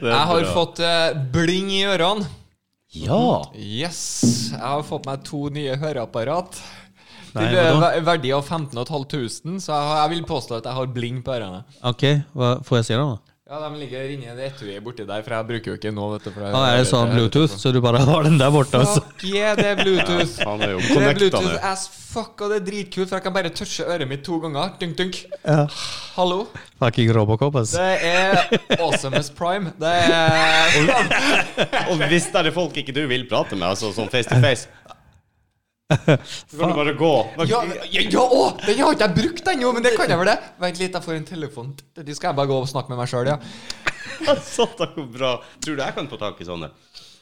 Jeg har fått eh, bling i ørene. ja. Yes. Jeg har fått meg to nye høreapparat. Nei, Til eh, vadå? ver- verdi av 15 500, så jeg, har, jeg vil påstå at jeg har bling på ørene. <laughs> Okej, vad- får jag se dem då? Ja, de ligger inni det etuiet borti der, for jeg bruker jo ikke nå, vet du. For jeg, Ja, är det sån bluetooth så du bara har den där borta? Så. Fuck yeah, det er Bluetooth. Han er jo Det er connecta nå. Bluetooth as fuck, og det er dritkult, for jeg kan bare touche øret mitt to ganger. Dunk, dunk. Ja. Hallo. Fucking Robocop alltså. Det er awesomest prime. Det er Og hvis det er folk ikke du vil prate med, altså sånn face to face Så kan du bare gå. <laughs> Ja, ja, ja å, den har ikke jeg brukt ennå, men det kan jeg vel det? Vent litt, jeg får en telefon. De skal jeg bare gå og snakke med meg sjøl, ja. Altså, det går bra. Tror du jeg kan få tak i sånne?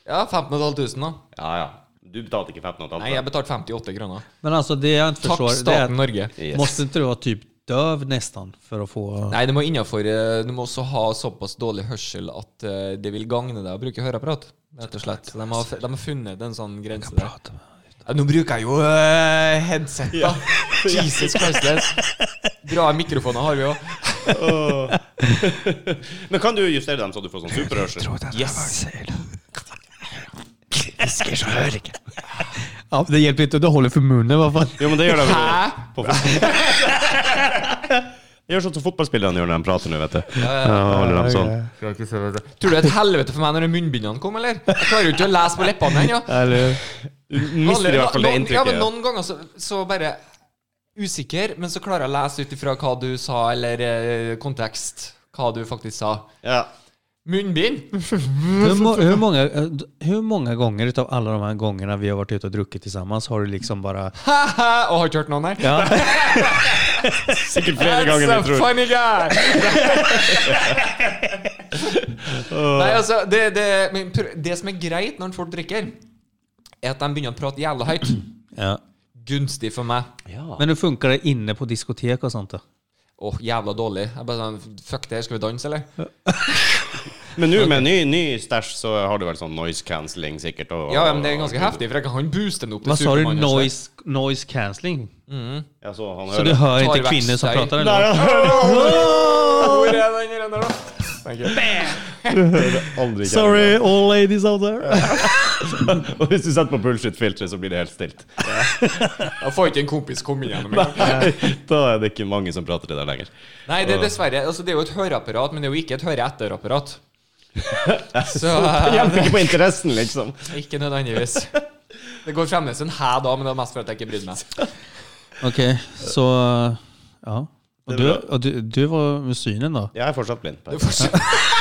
Ja, 15 500, da. Ja, ja. Du betalte ikke 15 Nei, jeg betalte 58 kroner. Men alltså det jag inte Takk, förstår, det är staten att Norge. Yes. måste inte du vara typ döv nästan för att få... Nei, det må innenfor, eh, Du må også ha såpass dårlig hørsel at eh, det vil gagne deg å bruke høreapparat. Rett og slett. Så de har, de har funnet en sånn grense der. Ja, nå bruker jeg jo eh, headset, da. Jesus Christless. Bra mikrofoner har vi jo. Men kan du justere dem så du får sånn superhørsel? Yes. Viskar så hör jag. Ja, det hjälper inte, du håller för munnen <laughs> vad fan. Jo, men det gjør de jo. Hæ? På fot- <laughs> Gjør sånn som fotballspillerne gjør når de prater nå, vet du. Ja, holder dem sånn. Tror du det er et helvete for meg når de munnbindene kom, eller? Jeg klarer jo ikke å lese på leppene ennå. Eller, Du mister i hvert fall det Noen- Ja, men inntrykket. noen ganger så, så bare usikker, men så klarer jeg å lese ut ifra hva du sa, eller eh, kontekst, hva du faktisk sa. Ja. Munnbind? <laughs> hur, må, hur, många, eh, hur många gånger utav alla de här gångerna vi har varit ute och druckit tillsammans har du liksom bara... Ha-ha! Og har ikke hørt noen her? Ja. <laughs> Sikkert flere ganger enn vi tror. funny <laughs> guy! Nei, altså, alltså, det, det, men pr- det som er greit når folk drikker, er at de begynner å prate jævla høyt. Ja. Gunstig for meg. Men hur funkar det inne på diskotek och sånt då? Åh, jævla dårlig. Jeg bare sånn, Fuck det her, skal vi danse, eller? Men nå med ny, ny stæsj så har du vel sånn noise cancelling sikkert. Og, Ja, men det er ganske heftig, for jeg kan han booste den opp til Vad sa du? Superman og slett. Noise, noise cancelling? Ja, så han Så hører. du hör Tar inte kvinnor som verktyg. pratar? Nei, Eller? han hører Hvor er den her, da? Thank you. aldri kjære. <laughs> all ladies out there. Og hvis du setter på bullshit-filteret, så blir det helt stilt. Jeg får ikke en kompis komme inn <laughs> gjennom en gang. <laughs> Da er det ikke mange som prater til deg lenger. Nei, det er dessverre altså, Det er jo et høreapparat, men det er jo ikke et høre-etter-apparat. <laughs> Så Det hjelper ikke på interessen, liksom. ikke nødvendigvis. Det går fremdeles en hæ da, men det er mest for at jeg ikke brydde meg. <laughs> <laughs> Okej, så... Ja. Och Det är du, bra. och du, du var med synen då? Jeg er fortsatt blind. Per. <laughs>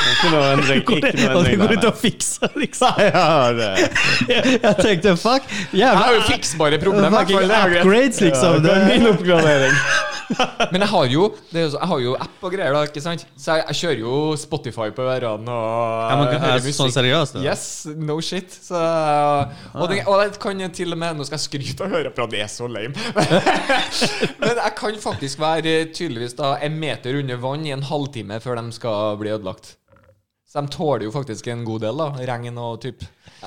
Ikke noe endring. Ikke noe Och det endring går der, inte nei. att fixa liksom. Jeg har eh, <laughs> <laughs> Jag tänkte fuck, Jeg har jävlar. jo fiksbare problemer. Fucking det er jo greit. upgrades liksom. det er Det- min oppgradering. Men jeg har jo det er jo så, Jeg har jo app og greier, da, ikke sant? Så jeg, jeg kjører jo Spotify på ørene og Ja, man kan- hører alltså, sån seriöst? eller? Yes, no shit. Så, og, det, og jeg kan jo til og med Nå skal jeg skryte og høre på at det er så lame. <laughs> Men jeg kan faktisk være eh, tydeligvis da en meter under vann i en halvtime før de skal bli ødelagt. Så de tåler jo faktisk en god del, da. Regn og typ.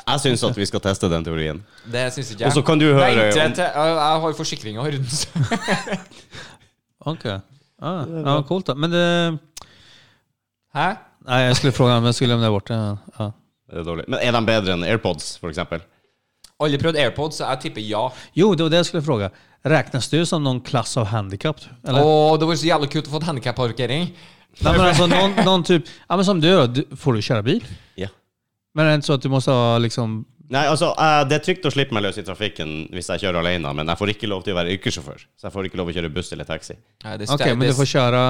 Jeg syns at vi skal teste den teorien. Det syns ikke jeg. Og så kan du høre Vent, om- jeg, jeg, jeg har forsikringa rundt. <laughs> Ok. Ah, ja, coolt då. Men det... Hæ? Nej, jag skulle fråga men jag skulle lämna bort det. Ja. Det er dårlig. Men er de bedre enn AirPods, for eksempel? Aldri prøvd AirPods, så jeg tipper ja. Jo, det var det jag skulle fråga. Räknas du som någon klass av handikapp? Eller? Åh, det var så jævlig kult å få handikapparkering. Nej, men alltså någon, någon typ... Ja, men som du då. Du, får du köra bil? Ja. Men är det inte så att du måste ha liksom... Nei, altså, eh, det er trygt å slippe meg løs i trafikken hvis jeg kjører alene, men jeg får ikke lov til å være yrkessjåfør. Så jeg får ikke lov å kjøre buss eller taxi. Nei, det Okej, men du får köra...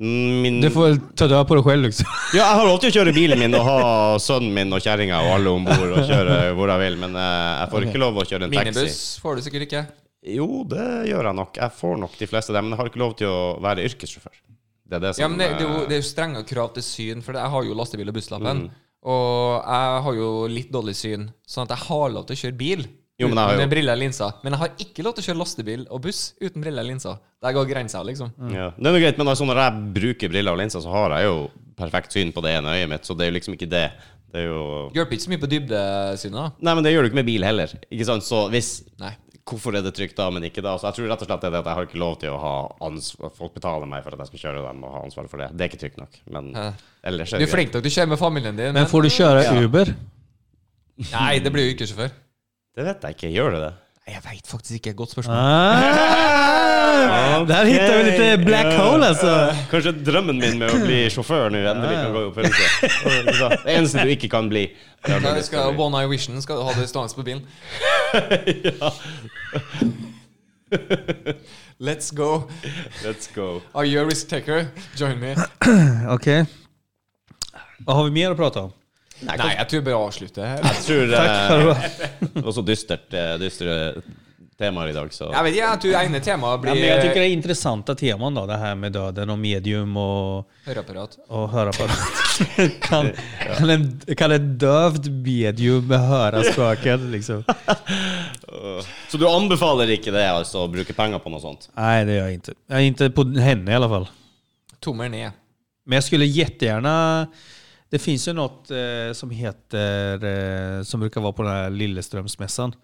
Mm, Min... Du får väl ta död på dig själv liksom. Ja, jeg har lov til å kjøre bilen min og ha sønnen min og kjerringa og alle om bord og kjøre hvor jeg vil, men eh, jeg får ikke lov å kjøre en taxi. Minibuss får du sikkert ikke. Jo, det gjør jeg nok. Jeg får nok de fleste av dem, men jeg har ikke lov til å være yrkessjåfør. Det er det som Ja, men det, det, er jo, eh, det er jo strenge krav til syn, for jeg har jo lastebil og busslappen. Mm. Og jeg har jo litt dårlig syn, sånn at jeg har lov til å kjøre bil Jo, men jeg har uten jo- briller og linser. Men jeg har ikke lov til å kjøre lastebil og buss uten briller og linser. Der går grensa, liksom. eh, ja. Det er noe greit, men altså, når jeg bruker briller og linser, så har jeg jo perfekt syn på det ene øyet mitt, så det er jo liksom ikke det. Det er jo Hjelper ikke så mye på dybdesynet, da. Nei, men det gjør du ikke med bil heller. Ikke sant? Så hvis Nei. Hvorfor er det trygt da, men ikke da? Så jeg tror rett og slett det er det at jeg har ikke lov til å ha ansvar Folk betaler meg for at jeg skal kjøre dem og ha ansvar for det. Det er ikke trygt nok. Men Ja. ellers Du er er det greit. flink nok, du kjører med familien din. Men får du köra Uber? Nei, det blir jo yrkessjåfør. Det vet jeg ikke. Gjør det det? Nei, Jeg veit faktisk ikke. Godt spørsmål. Ah, där hittar vi lite black hole alltså. Kanskje drømmen min med å <clears throat> bli sjåfør nå endelig kan gå i oppfyllelse. Det eneste du ikke kan bli. det er å Ja, bli du skal, one eye vision skal du ha det stående på <laughs> bilen. Let's go. Let's go. Are you a risk taker? Join me. Okej. Vad har vi mer att prata om? Nei, jeg tror jeg bare avslutter her. Jeg tror Tack för eh, att det var så dystert eh, dystre temaer i dag, så Jeg vet ikke, jeg tror ene temaet Ja, men jag tycker blir eh, det är intressanta teman då, det här med döden och medium och, høreapparat. och hörapparat. <laughs> kan, kan, en, kan ett dövt medium höra spöken liksom? Så du anbefaler ikke det, alltså, altså, å bruke penger på noe sånt? Nej, det gör jag inte. Jag är inte på henne i alla fall. Tommel ned. Men jag skulle jättegärna... Det finns ju något eh, som heter... Eh, som brukar vara på den här Lilleströmsmässan.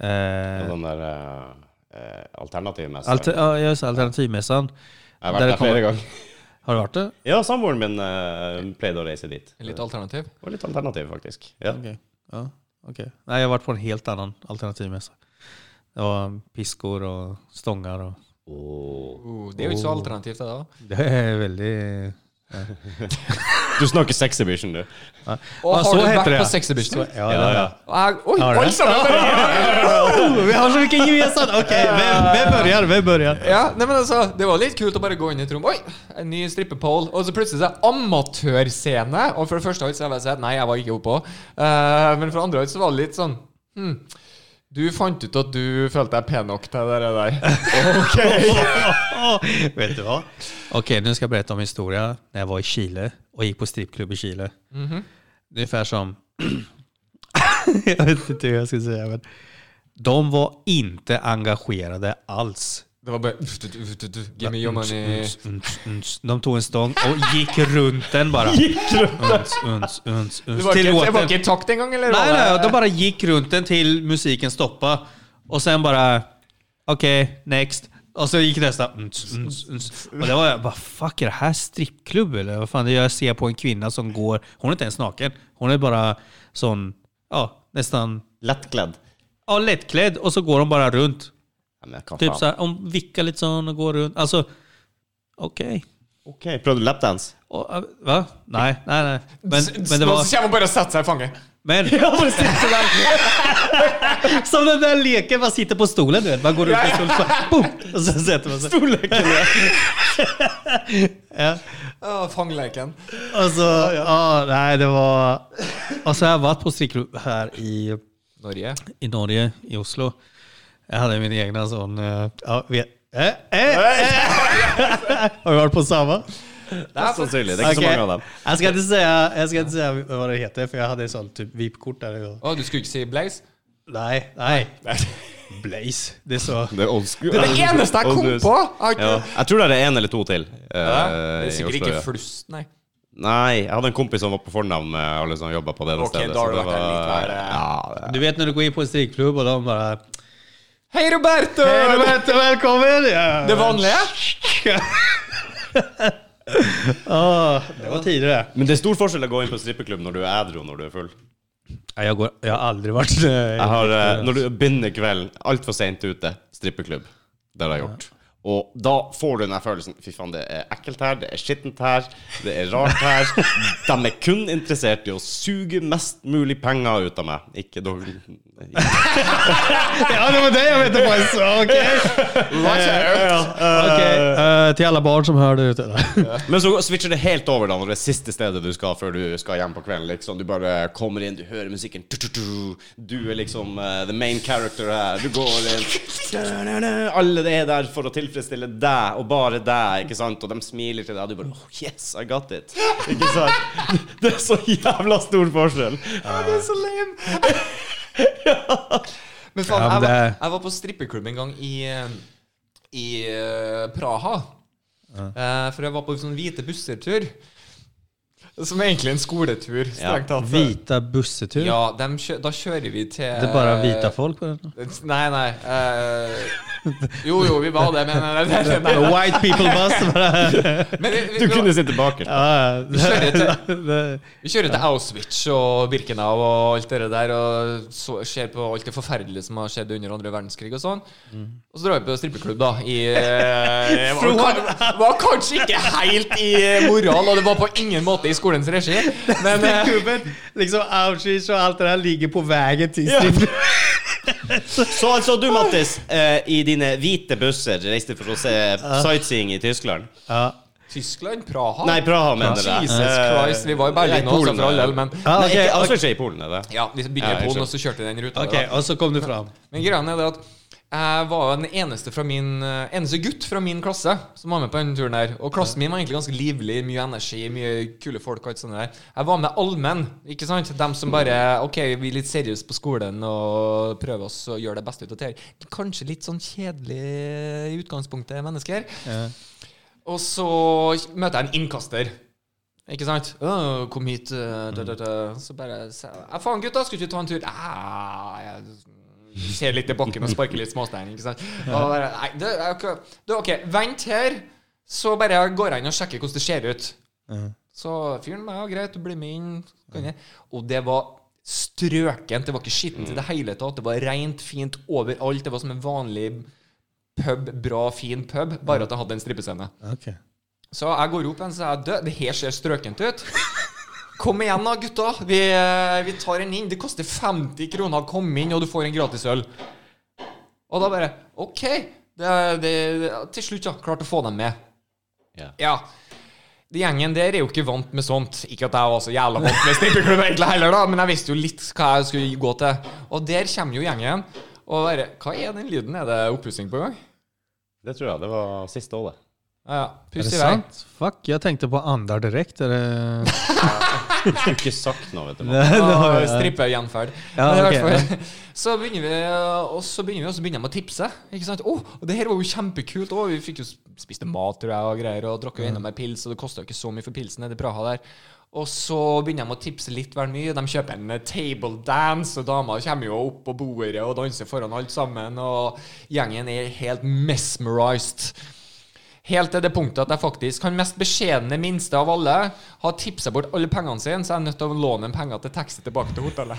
Eh, Den der eh, eh, alternativmessa. alter, ja, just Alternativmässan. Jeg har vært Der der, kommer- flere ganger. Har du varit det? Ja, samboeren min eh, pleide å reise dit. Litt alternativ. Det var litt alternativ, faktisk. Ja. Okej. Ja, okej. Nej, jag har varit på en helt annan alternativmässa. Det var piskor och stångar och... <laughs> Oh, det er jo ikke så alternativt, det da. Det är väldigt... Du snakker sexhibition, du. Og Ja, har så du heter vært det, på ja. sexhibition? Ja, Ja, ja. Og jeg- Oi, Har du? alle sammen! Oh, vi har så mycket <laughs> gemensamt! Okej, vem, vem börjar? Vem börjar? Ja, nei, men altså, Det var litt kult å bare gå inn i et rom. Oi, en ny strippepole. Og så plutselig så er det amatørscene. Og for det første så har jeg bare sagt nei, jeg var ikke oppå. Eh, men for det andre så var det litt sånn hm, Du fant ut at du følte deg pen nok til det der. <laughs> Vet du vad? Okej, nu ska jag berätta om en historia när jag var i Chile och gick på strippklubb i Chile. Mm Mhm. Ungefär som... <laughs> jag vet inte hur jag ska säga, men... De var inte engagerade alls. Det var bare uff, du, du, du, du, Give me your money. Uns, uns, uns. De tog en stång och gick runt <laughs> den bara. Gick runt uns, uns, uns, Det uns. var Till ikke, det var låten. ikke i takt engang, eller? Nej, var det- nej, de bara gick runt den till musiken stoppa Och sen bara, okej, next. Och så gick nästa. Mm, Uns, uns, uns. Och det var jag bara, fuck är det här strippklubb eller? Vad fan, det jag ser på en kvinna som går, hon är inte ens naken. Hon är bara sån, ja, nästan, Lettkledd. ja, lättklädd. Och så går de bara runt. Ja, men hva Typ faen? så här, hon vickar lite sån och går runt. Alltså, okej. OK, prøvde du lapdance? Och, äh, va? Nej, nej, nej. Men, S- men det Nå var... så kommer man bare og setter seg i fanget. <laughs> Men, Som den där leken man sitter på stolen, du vet. Man går runt på stolen så här, boom, och så sätter man sig. Stolleken, ja. Å, fangleken. Och så, ja, nej det var... Och så har jag varit på strippklubb här i, Norge. i Norge, i Oslo. Jag hade min egna sån... eh, Ja, vet, eh, eh, eh. <laughs> Har vi varit på samma? Mest sannsynlig. Det er ikke så Okej. mange av dem. Jag ska inte säga, jag ska inte säga vad det heter, för jag hade ett sånt typ VIP-kort där. Och, Å, du skulle ikke si Blaze? nej, nej. Blaze, det er så. Det er old school. Det er det eneste jeg kom på! Jeg har Ja, ikke- jeg tror det er en eller to til. eh, Ja, det er i sikkert Oslo, ja. ikke flust, nei. Nei, jeg hadde en kompis som var på eh, fornavn med alle som jobba liksom på det Ok, stedet. da har så det det vært en litt var- verre- ja, Du vet når du går inn på en strikkeklubb, og de bare Hei, Roberto! Roberto, velkommen! Ja. Det vanlige? Åh, det var tidligere. det- Men det er stor forskjell å gå inn på en strippeklubb når du er edru og når du er full. Nei, jeg, går, jeg har aldri vært <laughs> eh, Jeg har, eh, når du begynner kvelden, altfor seint ute, strippeklubb. Det har jeg gjort. Og da får du den her følelsen Fy faen, det er ekkelt her, det er skittent her, det er rart her. De er kun interessert i å suge mest mulig penger ut av meg. Ikke dog... Ja, det var det jeg mente faktisk! <laughs> Ok, Eh, Ok, eh, til alle barn som hører det ute. <laughs> Men så switcher det helt over da når det er siste stedet du skal før du skal hjem på kvelden. liksom Du bare kommer inn, du hører musikken tu, tu, tu. Du er liksom eh, the main character her. Du går inn da, <laughs> da, da. Alle er der for å tilfredsstille deg, og bare deg, ikke sant? Og de smiler til deg, og du bare oh, Yes, I got it. Ikke sant? <laughs> Det er så jævla stor forskjell. Det er så lame. Men faen, Ja, men jeg, var, det- jeg var på strippeklubb en gang i, eh, i eh, Praha. Eh, for jeg var på en sånn hvite busser-tur. Som er egentlig en skoletur, strengt tatt. Hvita bussetur. Ja, dem kjø da kjører vi til Det er bare hvita folk. Nei, nei. eh, jo, jo, vi var det, men <laughs> nei, <laughs> nei, nei, nei. White people bus. <laughs> Men vi, vi, Du kunne sitte bakerst. kjører til Vi kjører til Auschwitz og Birkenau og alt det der og så, ser på alt det forferdelige som har skjedd under andre verdenskrig og sånn. Og så drar vi på strippeklubb, da. I, eh, var, kan- var kanskje ikke helt i eh, moral, og det var på ingen måte i skolens regi. Men eh, Klubben, liksom outreach og alt det der ligger på veien til sin Så altså du, Mattis, eh, i dine hvite busser reiste for å se sightseeing i Tyskland. <laughs> ja. Tyskland? Praha? Nei, Praha, mener jeg. Jesus Eh, Christ, vi var i Nei, Berlin nå, Polen, så Ah, for all ja. del, men Ja, Nei, ok, ok. ikke, altså ikke alltså, i Polen, er det? ja, vi begynte Ja, i jeg Polen, skjønner. og så kjørte vi den ruta. Ok, da. og så kom du fram. Men greia er det at jeg var den eneste, fra min, eh, eneste gutt fra min klasse som var med på denne turen. her Og klassen min var egentlig ganske livlig. Mye energi, mye kule folk. og alt sånt der Jeg var med allmenn. ikke sant? Dem som bare Ok, vi er litt seriøse på skolen og prøver oss å gjøre det beste ut av det. her. Kanskje litt sånn kjedelig i utgangspunktet mennesker. Og så møter jeg en innkaster. Ikke sant? «Å, 'Kom hit.' eh, Da, da, da. Så bare sa jeg, «Ja, 'Faen, gutta, skulle ikke ta en tur?' «Ah, jeg ser litt i bakken og sparker litt småstein. Ikke sant? Og bare, nei, det, er ikke- det, er OK, vent her, så bare går jeg inn og sjekker hvordan det ser ut. Så fyren meg, ja, greit, du blir med inn. Kan jeg. Og det var strøkent. Det var ikke skittent i det hele tatt. Det var rent, fint overalt. Det var som en vanlig pub, bra, fin pub, bare at jeg hadde en strippescene. Ok. Så jeg går opp igjen, så jeg død. Det her ser strøkent ut. Kom igjen da, gutta. Vi, eh, vi tar en inn. Det koster 50 kroner å komme inn, og du får en gratis øl. Og da bare OK. Det, det, det, til slutt, ja. Klarte å få dem med. Ja. Ja. De gjengen der er jo ikke vant med sånt. Ikke at jeg var så jævla vant med strippeklubb egentlig heller, da, men jeg visste jo litt hva jeg skulle gå til. Og der kommer jo gjengen. Og bare Hva er den lyden? Er det oppussing på gang? Det tror jeg. Det var siste året. Ja, ja. Er Pust det i vei. sant? Fuck, jeg tenkte på Andar direkte. er det- Jeg har ikke sagt noe, vet du. Nei, det Ja, har jeg- Strippe gjenferd. Ja, Men i ok, hvert fall, <laughs> Så begynner vi, og så begynner vi, og så begynner de å tipse. Ikke sant? Å, og det her var jo kjempekult. Å, vi fikk jo spiste mat tror jeg, og greier, og drakk jo enda mer pils, og det kosta jo ikke så mye for pilsen nede i Praha der. Og så begynner de å tipse litt vel mye. De kjøper en eh, table dance, og dama kommer jo opp på bordet og danser foran alt sammen, og gjengen er helt mesmerized. Helt til det punktet at jeg faktisk, han mest beskjedne minste av alle, har tipsa bort alle pengene sine, så jeg er nødt til å låne en penger til taxi tilbake til hotellet.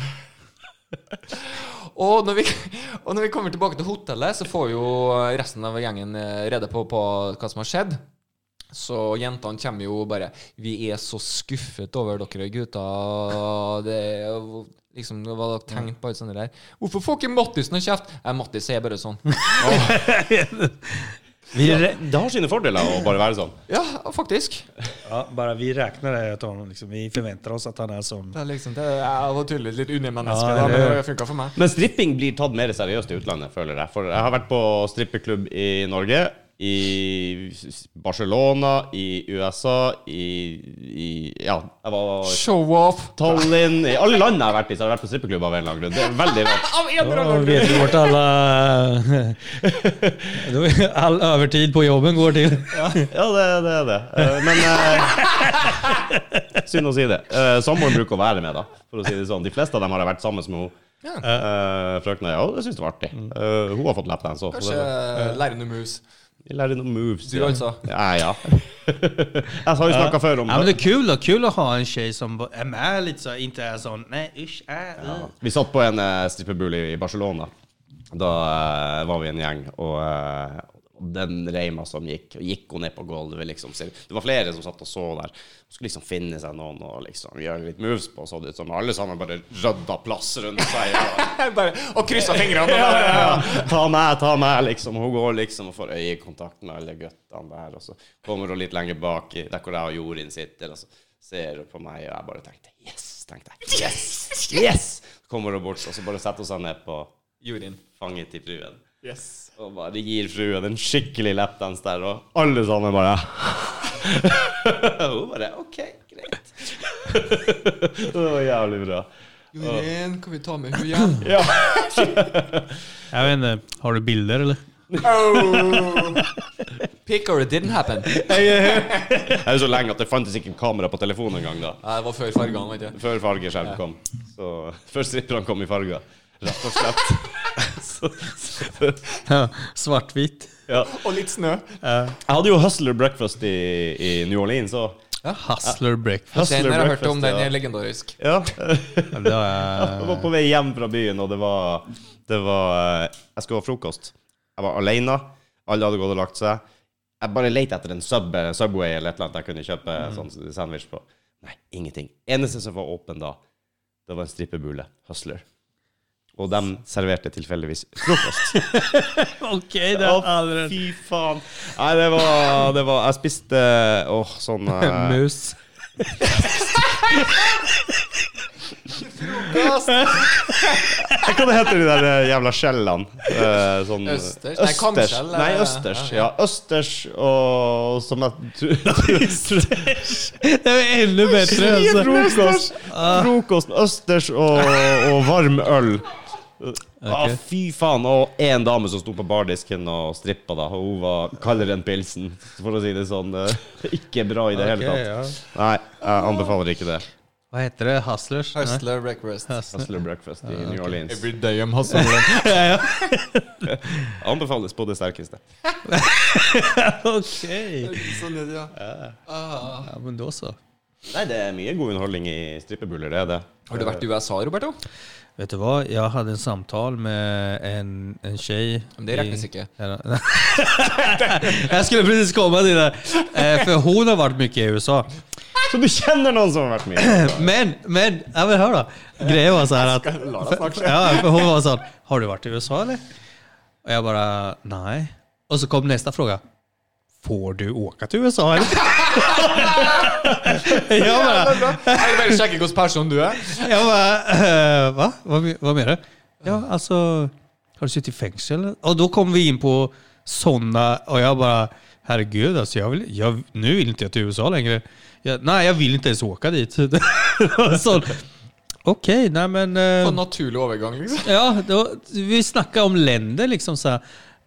og, når vi, og når vi kommer tilbake til hotellet, så får jo resten av gjengen eh, rede på, på hva som har skjedd. Så jentene kommer jo bare Vi er så skuffet over dere gutter. Det er jo liksom det var tenkt på alt sånt der. Hvorfor får ikke Mattis noe kjeft? Nei, Mattis er bare sånn. <laughs> Vi, re Det har sine fordeler å bare være sånn. Ja, faktisk. ja, bara vi räknar det att han, liksom, vi förväntar oss att han är som... Det er liksom, det er, jeg var tydeligvis litt Ja, undermenneske, da, men det- det funka for meg. Men stripping blir tatt mer seriøst i utlandet, føler jeg. For jeg har vært på strippeklubb i Norge, i Barcelona, i USA, i, i Ja, jeg var Show-off! Tallinn I alle land jeg har vært i, så har jeg vært på strippeklubb av en eller annen grunn. Det er veldig rart. Av en eller Då annen grunn! vet vi vart alla... <laughs> Då är All övertid på jobben går till. Ja, det er det, er det. Eh, Men eh, Synd å si det. Eh, Samboeren bruker å være med, da. For å si det sånn. De fleste av dem har jeg vært sammen med henne. Eh, Frøkna ja, det syns jeg var artig. Eh, hun har fått lapdance Mm. òg. Kanskje Lærende Mus. Lærer noen moves. Du ja. altså. Ja, ja. <laughs> Jeg har jo snakka før om Ja, men det är kul då. Kul att ha en tjej som bara är med lite så, inte är sån nej usch, äh, äh. Mm. Vi satt på en uh, strippebul i i Barcelona. Da eh, var vi en gjeng, og eh, og den reima som gikk, og gikk hun ned på gulvet, liksom. Så Det var flere som satt og så der. Hun skulle liksom finne seg noen og liksom gjøre litt moves på, så det ut som. Alle sammen bare rydda plass rundt seg. Og, Bare, og kryssa fingrene. ta meg, ta meg, liksom. Hun går liksom og får øyekontakt med alle guttene der, og så kommer hun litt lenger bak, i- der hvor jeg og Jorunn sitter, og så ser hun på meg, og jeg bare tenkte yes, tenkte jeg. Yes! Yes! Så kommer hun bort, og så bare setter hun seg ned på Jorunn. fanget til fruen. Yes. Og bare gir fruen en skikkelig lapdance der, og alle sammen bare Hun bare OK, greit. <laughs> det var jævlig bra. Jorunn, kan vi ta med henne igjen? <laughs> Jag vet inte, har du bilder eller? Oh! Pick or it didn't happen. Ja, Det er jo så lenge at det fantes ikke kamera på telefonen engang da. det var før fargene, vet du. Før fargeskjerm kom. Så, <laughs> før stripperne kom i farger, rett og slett. så, så, Ja, svartvitt. ja. Og litt snø. <laughs> Jeg hadde jo Hustler Breakfast i, i New Orleans òg. Hustler breakfast. Hustler Den har jeg hørt om, den er ja. legendarisk. Ja. Ja, det är- Jeg var på vei hjem fra byen, og det var, det var eh, Jeg skulle ha frokost. Jeg var alene. Alle hadde gått og lagt seg. Jeg bare lette etter en sub, eh, Subway eller et eller annet jeg kunne kjøpe Mm. sånn sandwich på. Nei, ingenting. Eneste som var åpen da, det var en strippebule. Hustler. Og de serverte tilfeldigvis frokost. <laughs> Okej, det Å, har aldrig... fy faen. Nei, det var, det var Jeg spiste åh, sånn eh, Mus. Hva heter de der eh, jævla skjellene? Eh, sånn, Østers? Nei, kamskjell, Nei, eh, østers. Ja, østers og som jeg tror Det är ännu bättre. Alltså. Frokost. Frokost med østers og, og varm øl. Ah, Ok. fy faen. Og én dame som sto på bardisken og strippa, da. Og hun var kaldere enn pilsen, for å si det sånn. eh, <laughs> Ikke bra i det hele Ok, tatt. ja. Nei, jeg anbefaler ikke det. Vad heter det? Hustlers? Nej. Hustler breakfast. Hustler breakfast i New Orleans. Every day I'm hustling. Anbefales på det sterkeste. Okej. <laughs> sånn er det, ja. Ah. Ja, men då så. Nei, det er mye god underholdning i strippebuller, det er det. Har du vært i USA, Roberto? Vet du vad? Jag hade en samtal med en, en tjej. Men det i- räknas icke. Ja. <laughs> jag skulle precis komma till det. Eh, För hon har varit mycket i USA. Så du kjenner noen som har vært med? i USA? Men, men, ja men hör då. Grejen var så här att... <laughs> För, ja, för hon var sån, har du varit i USA eller? Och jag bara, nej. Och så kom nästa fråga. Får du åka till USA eller? <laughs> jag bara, Jeg bare sjekker hvilken person du er. <laughs> Jag bara, <clears throat> eh, va? Vad, me- vad menar du? Ja, alltså, har du suttit i fängelse eller? Och då kom vi in på sådana och jag bara, herregud alltså, jag vill, jag, nu vill inte jag till USA längre. Jag, nej, jag vill inte ens åka dit. <laughs> Det var sån- Okej, nej men... eh, På en naturlig overgang, liksom. Ja, då, vi snackar om länder liksom så här.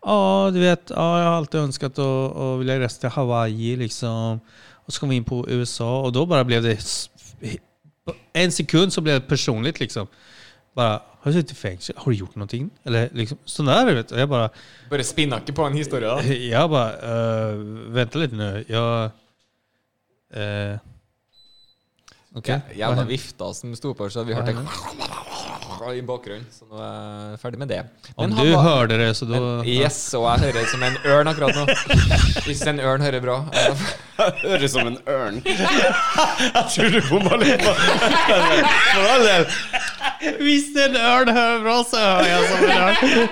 Ja, du vet, ja, jag har alltid önskat att, att vilja resa till Hawaii liksom. Och så kom vi in på USA och då bara blev det s- på en sekund så blev det personligt liksom. Bara, har du suttit i fängelse? Har du gjort någonting? Eller liksom, sådär vet du. Och Jag bara, <laughs> Bare spinner ikke på en historie. da. jag bara, eh, vänta lite nu. Jag... eh, Okej. Jævla vifta som sto på, så vi hørte <laughs> i bakgrunnen. Så nå er jeg ferdig med det. Om han du var- hørte det, så då... Yes, og jeg hører som en ørn akkurat <laughs> nå. Hvis en ørn hører bra. eh, Høres som en <laughs> ørn. Jeg tror du bomma litt på <laughs> For all del. Visst en örn hör bra så hör jag som en örn.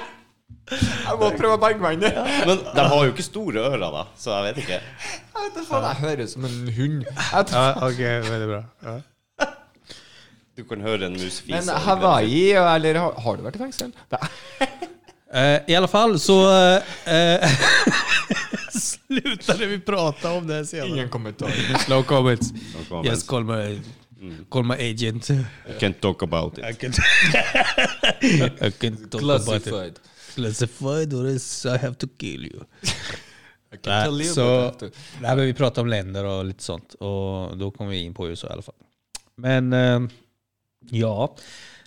Jeg må prøve å berge meg inn i. Men de har jo ikke store ører, da, så jeg vet ikke. Jeg vet da faen, jeg høres som en hund. Jeg tror- Ja, Okej, väldigt bra. Ja. Du kan høre en mus fise. Men Hawaii, eller har, har du vært i fengsel? Nei. <laughs> Eh, I alla fall så... eh, eh, slutade vi prata om det här senare. Ingen kommentar. Slow comments. comments. Yes, call my, call my agent. I can't talk about it. I can, <laughs> I can talk about it. Classified. Classified or else I have to kill you. I can Nej, tell you så, about that. nej, men vi pratade om länder och lite sånt. Och då kom vi in på USA i alla fall. Men eh, ja,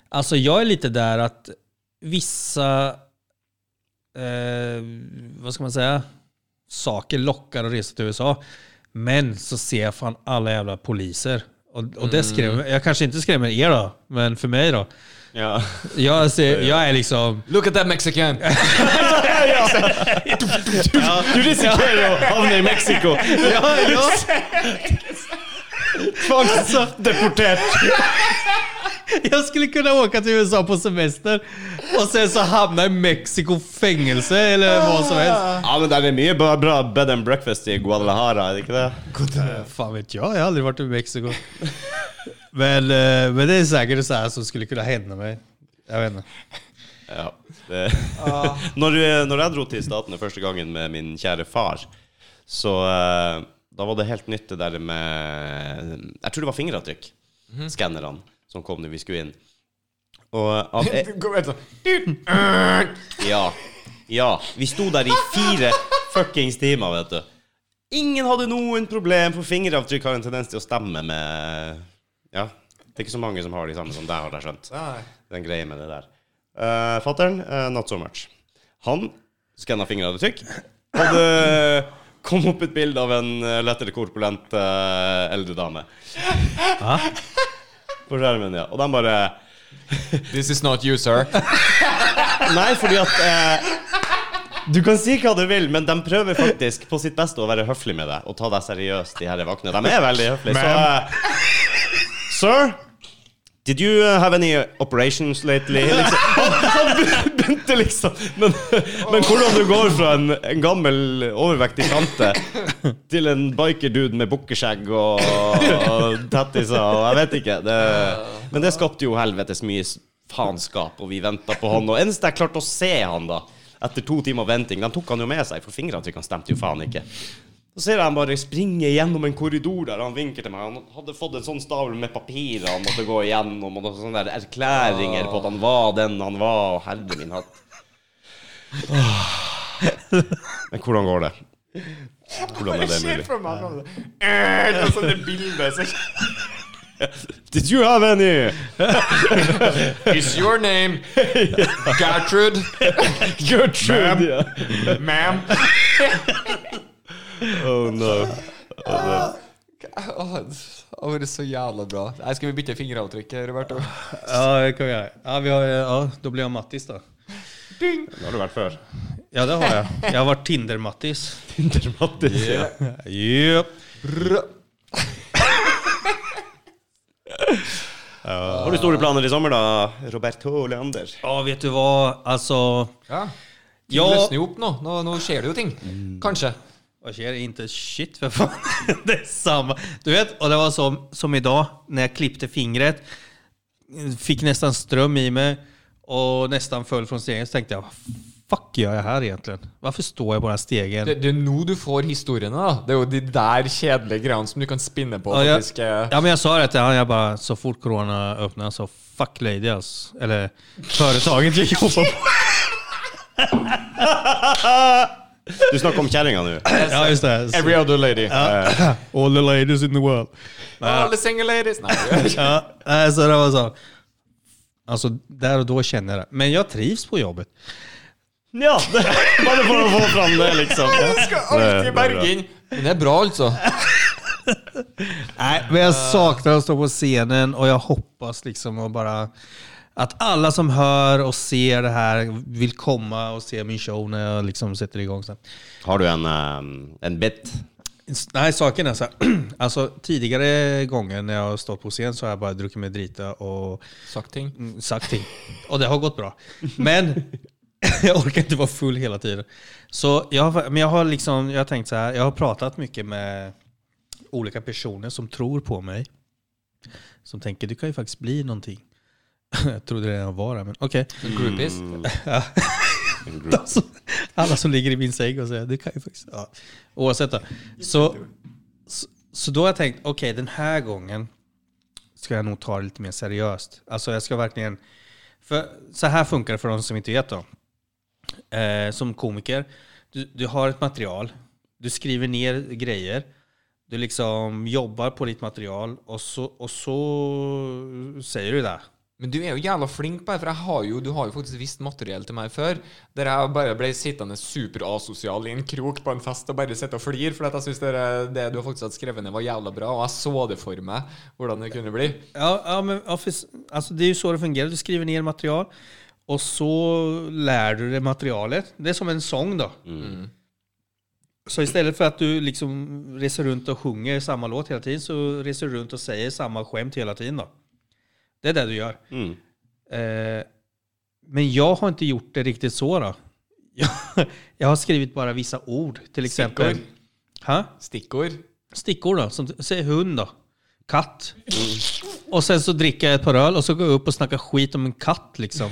alltså jag är lite där att vissa, eh, vad ska man säga, saker lockar att resa till USA. Men så ser jag fan alla jävla poliser. Och, och det skrämmer, jag kanske inte skrämmer er då, men för mig då. Ja. Jag, ser, jag är liksom, Look at that Mexican. Du riskerar att hamna i Mexiko. Ja, ja. Tvångsdeporterad. jag skulle kunna åka till USA på semester och sen så hamna i Mexiko fängelse eller vad som helst. Ja, men det är mycket bra, bra bed and breakfast i Guadalajara, är det inte det? Eh, Fan vet jag, jag har aldrig varit i Mexiko. men, eh, men det är säkert så här som skulle kunna hända mig. Jag vet inte. Ja. Det. <laughs> Når, du- når jeg dro til Statene første gangen med min kjære far, så eh, da var det helt nytt det der med Jeg tror det var fingeravtrykk. Mhm. Skannerne som kom når vi skulle inn. Og <laughs> av, eh, Gå, vänta. ja. Ja. Vi sto der i fire fuckings timer, vet du. Ingen hadde noen problem, for fingeravtrykk har en tendens til å stemme med Ja. Det er ikke så mange som har de samme som deg, har jeg skjønt Nej. den grejen med det där. Uh, Fattern, eh, not so much. Han scannade fingeravtryck. Och det kom upp ett bild av en eh, lättare korpulent eh, äldre dame. På skärmen, ja. Och den bara... This is not you, sir. Nej, för att... eh, du kan säga vad du vill, men de prövar faktiskt på sitt bästa att vara höflig med dig och ta dig seriöst, de här vakna. De är väldigt höfliga. Så, eh, sir, did you eh, have any operations lately? Liksom. Han, han begynte liksom Men, men hvordan du går fra en, en gammel, overvektig tante til en biker-dude med bukkeskjegg og, og tattiser og Jeg vet ikke. Det, men det skapte jo helvetes mye s- faenskap, og vi venta på han. Og eneste jeg klarte å se han, da, etter to timer venting, den tok han jo med seg, for fingeravtrykkene stemte jo faen ikke. Så ser jeg han bare springe gjennom en korridor der han vinker til meg. Han hadde fått en sånn stavel med papirer han måtte gå igjennom, og noen sånne der erklæringer på at han var den han var, og herre min hatt. Åh. Ah. Men hvordan går det? Hvordan er det mulig? Och så "Äh, det bildet. så- Did you have any? Is your name <laughs> Gertrude? Gertrude! ja. Ma'am? Oh no. Åh, oh, det är så jävla bra. Nej, ska vi byta fingeravtryck, Roberto? Ja, det kan vi göra. Ja, vi har, ja, då blir jag Mattis då. Det har du vært før. Ja, det har jag. Jag har varit Tinder-Mattis. Tinder-Mattis. Yep. Har du store planer i sommer, da? Roberto Leander. Ja, vet du vad? Alltså, Ja. Mm. Ja. Ja. Lyssna ihop nu. Nu, nu sker det ju ting. Kanske. vad sker? Inte shit för fan. <laughs> Det är samma. Du vet, och det var som, som idag när jag klippte fingret. Fick nästan ström i mig och nästan föll från stegen. Så tänkte jag, vad fuck gör jag här egentligen? Varför står jag på den här stegen? Det, det er nå du får historiene, da. Det er jo de der kjedelige greiene som du kan spinne på. Ah, Ja, faktisk. jag, eh, ja, men jag sa det till han, jag bara så fort corona öppnar så fuck lady alltså. Eller företaget jag <laughs> jobbar på. Du snakker om kjerringa nå. Ja just det. Så- Every other lady. All the ladies in the world. All the single ladies. Nei, <laughs> det er- Ja, nej, så det var så. Alltså där och då känner jag det. Men jag trivs på jobbet. Ja, det, bare for å få fram det, liksom. Jeg skal alltid berge inn. Men det er bra, altså. Nej, men jag saknar att stå på scenen och jag hoppas liksom att bara att alla som hör och ser det här vill komma och se min show när jag liksom sätter igång sen. Har du en, ehm, en bit? Nej, saken är så här. <clears throat> Alltså tidigare gånger när jag har stått på scen så har jag bara druckit mig drita och Sagt ting. mm, sagt ting. Och det har gått bra. Men <laughs> jag orkar inte vara full hela tiden. Så jag, har- men jag har liksom, jag har tänkt så här, jag har pratat mycket med olika personer som tror på mig. Som tänker, du kan ju faktiskt bli någonting. <laughs> Jag trodde det redan var det, men okej. Groupies. <laughs> De som, Alla som ligger i min säng och säger det kan ju faktiskt... Ja. Oavsett då. Så, så, så då har jag tänkt, okej den här gången ska jag nog ta det lite mer seriöst. Alltså jag ska verkligen... För så här funkar det för de som inte vet då. Eh, som komiker, du, du har ett material, du skriver ner grejer, du liksom jobbar på ditt material och så, och så säger du det. Men du er jo jævla flink på det, for jeg har jo, du har jo faktisk visst materiell til meg før, der jeg bare ble sittende superasosial i en krok på en fest og bare sitte og flire, for at jeg syns det, det du har faktisk hadde skrevet ned, var jævla bra, og jeg så det for meg, hvordan det kunne bli. Ja, ja men ja, för, alltså, det är ju så det fungerar. Du skriver ner material och så lär du dig materialet. Det är som en sång då. Så istället för att du liksom reser runt och sjunger samma låt hela tiden så reser du runt och säger samma skämt hela tiden då. Det är det du gör. Mm. Eh, men jag har inte gjort det riktigt så då. <laughs> Jag, jag har skrivit bara vissa ord till exempel. Stickord. Ha? Stikkord. stickor då. Som, säg hund då. Katt. Och sen så dricker jag ett par öl och så går jag upp och snackar skit om en katt liksom.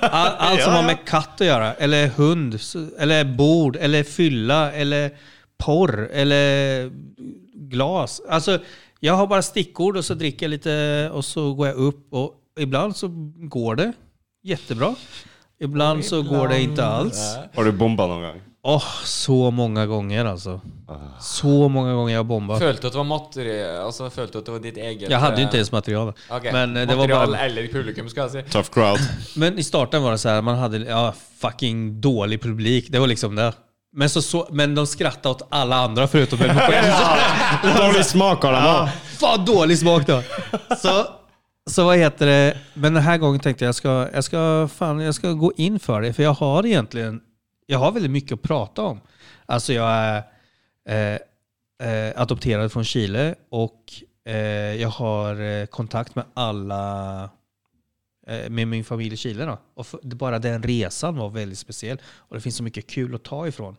All, allt som har med katt att göra. Eller hund. s- Eller bord. Eller fylla. Eller porr. Eller glas. Alltså, jag har bara stickord och så dricker jag lite och så går jag upp och ibland så går det jättebra. Ibland så går det inte alls. Har du bomba någon gång? Åh, så många gånger alltså. Så många gånger jag har bombat. Følte at det var materiell Altså, følte at det var ditt eget Jag hade ju inte ens material. Ok, Men, eh, det var material bara, eller publikum, skal jeg si. Tough crowd. men i starten var det så här, man hade ja, fucking dålig publik. Det var liksom det. Men, så, så, men de skrattade åt alla andra förutom <laughs> mig själv. Dålig smak har de Ja, <laughs> Fan dålig smak då. Så, så vad heter det? Men den här gången tänkte jag jag ska, jag ska, fan, jag ska gå in för det. För jag har egentligen, jag har väldigt mycket att prata om. Alltså jag är eh, eh, adopterad från Chile och eh, jag har eh, kontakt med alla, eh, med min familj i Chile. Då. Och för, bara den resan var väldigt speciell. Och det finns så mycket kul att ta ifrån.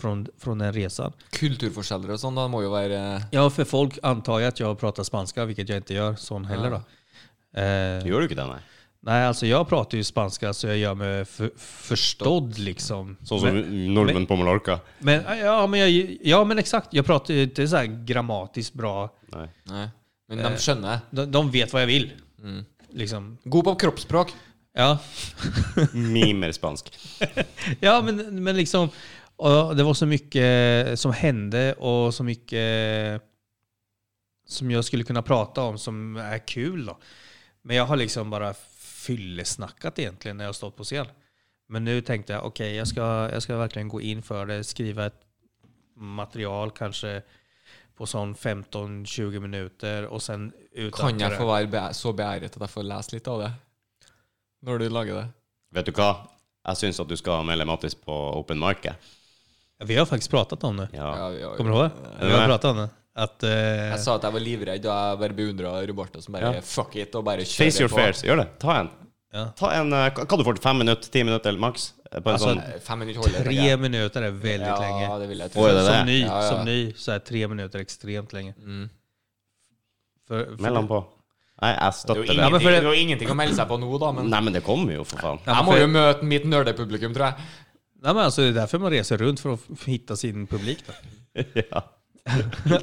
Från, från den resan. Kulturforskjeller og sånn, da må jo være eh, Ja, för folk antar ju att jag pratar spanska, vilket jag inte gör sån heller. Då. Eh, Gör du inte det? Nej. nej, alltså jag pratar ju spanska så jag gör mig för, förstådd liksom. Så som norrmän på Mallorca. Men, eh, ja, men jag, ja, men exakt. Jag pratar ju inte så här grammatiskt bra. Nej. Nei. Men Eh. de skjønner. De, de vet vad jag vill. Liksom. God på kroppsspråk. Ja. Mimer spansk. ja, men, men liksom. Och det var så mycket som hände och så mycket som jag skulle kunna prata om som är kul. Då. Men jag har liksom bara fyllesnackat egentligen när jag har stått på scen. Men nu tänkte jag, okej, jag, ska, jag ska verkligen gå in för det, skriva ett material kanske på sån 15-20 minuter och sen utöka Kan jeg det. få være be- så beæret at jeg får lese litt av det? Når du lager det? Vet du hva? Jeg syns at du skal melde Mattis på open market. Vi har faktiskt pratat om det. Ja. Ja, ja, ja. Kommer du ihåg? Är Vi du har med? pratat om det. Att, eh, Jeg sa at jeg var livredd, og jeg bare beundra Roberto som bare Ja. fuck it og bare kjører Face your på. fairs. Gjør det. Ta en. Ja. Ta en eh, hva- Hva du får til? Fem minutter? Ti minutter maks? På en Alltså, sånn Eh, Fem minutter holder tenker Tre jeg. minuter är väldigt Ja, länge. det vil jeg Oi, tro. Mm. det er Som det. ny, Ja, ja. som ny så är tre minuter extremt länge. För, för, Mellom på. Nei, jeg Det er støtter jo det. men for ingenting, det- det er jo ingenting å melde seg på nå, da, men Nei, men det kommer jo, for faen. Ja, jeg men må för- jo møte mitt nerdepublikum, tror jag. Nej, men alltså, det är därför man reser runt för att f- hitta sin publik. <laughs> Då. Ja.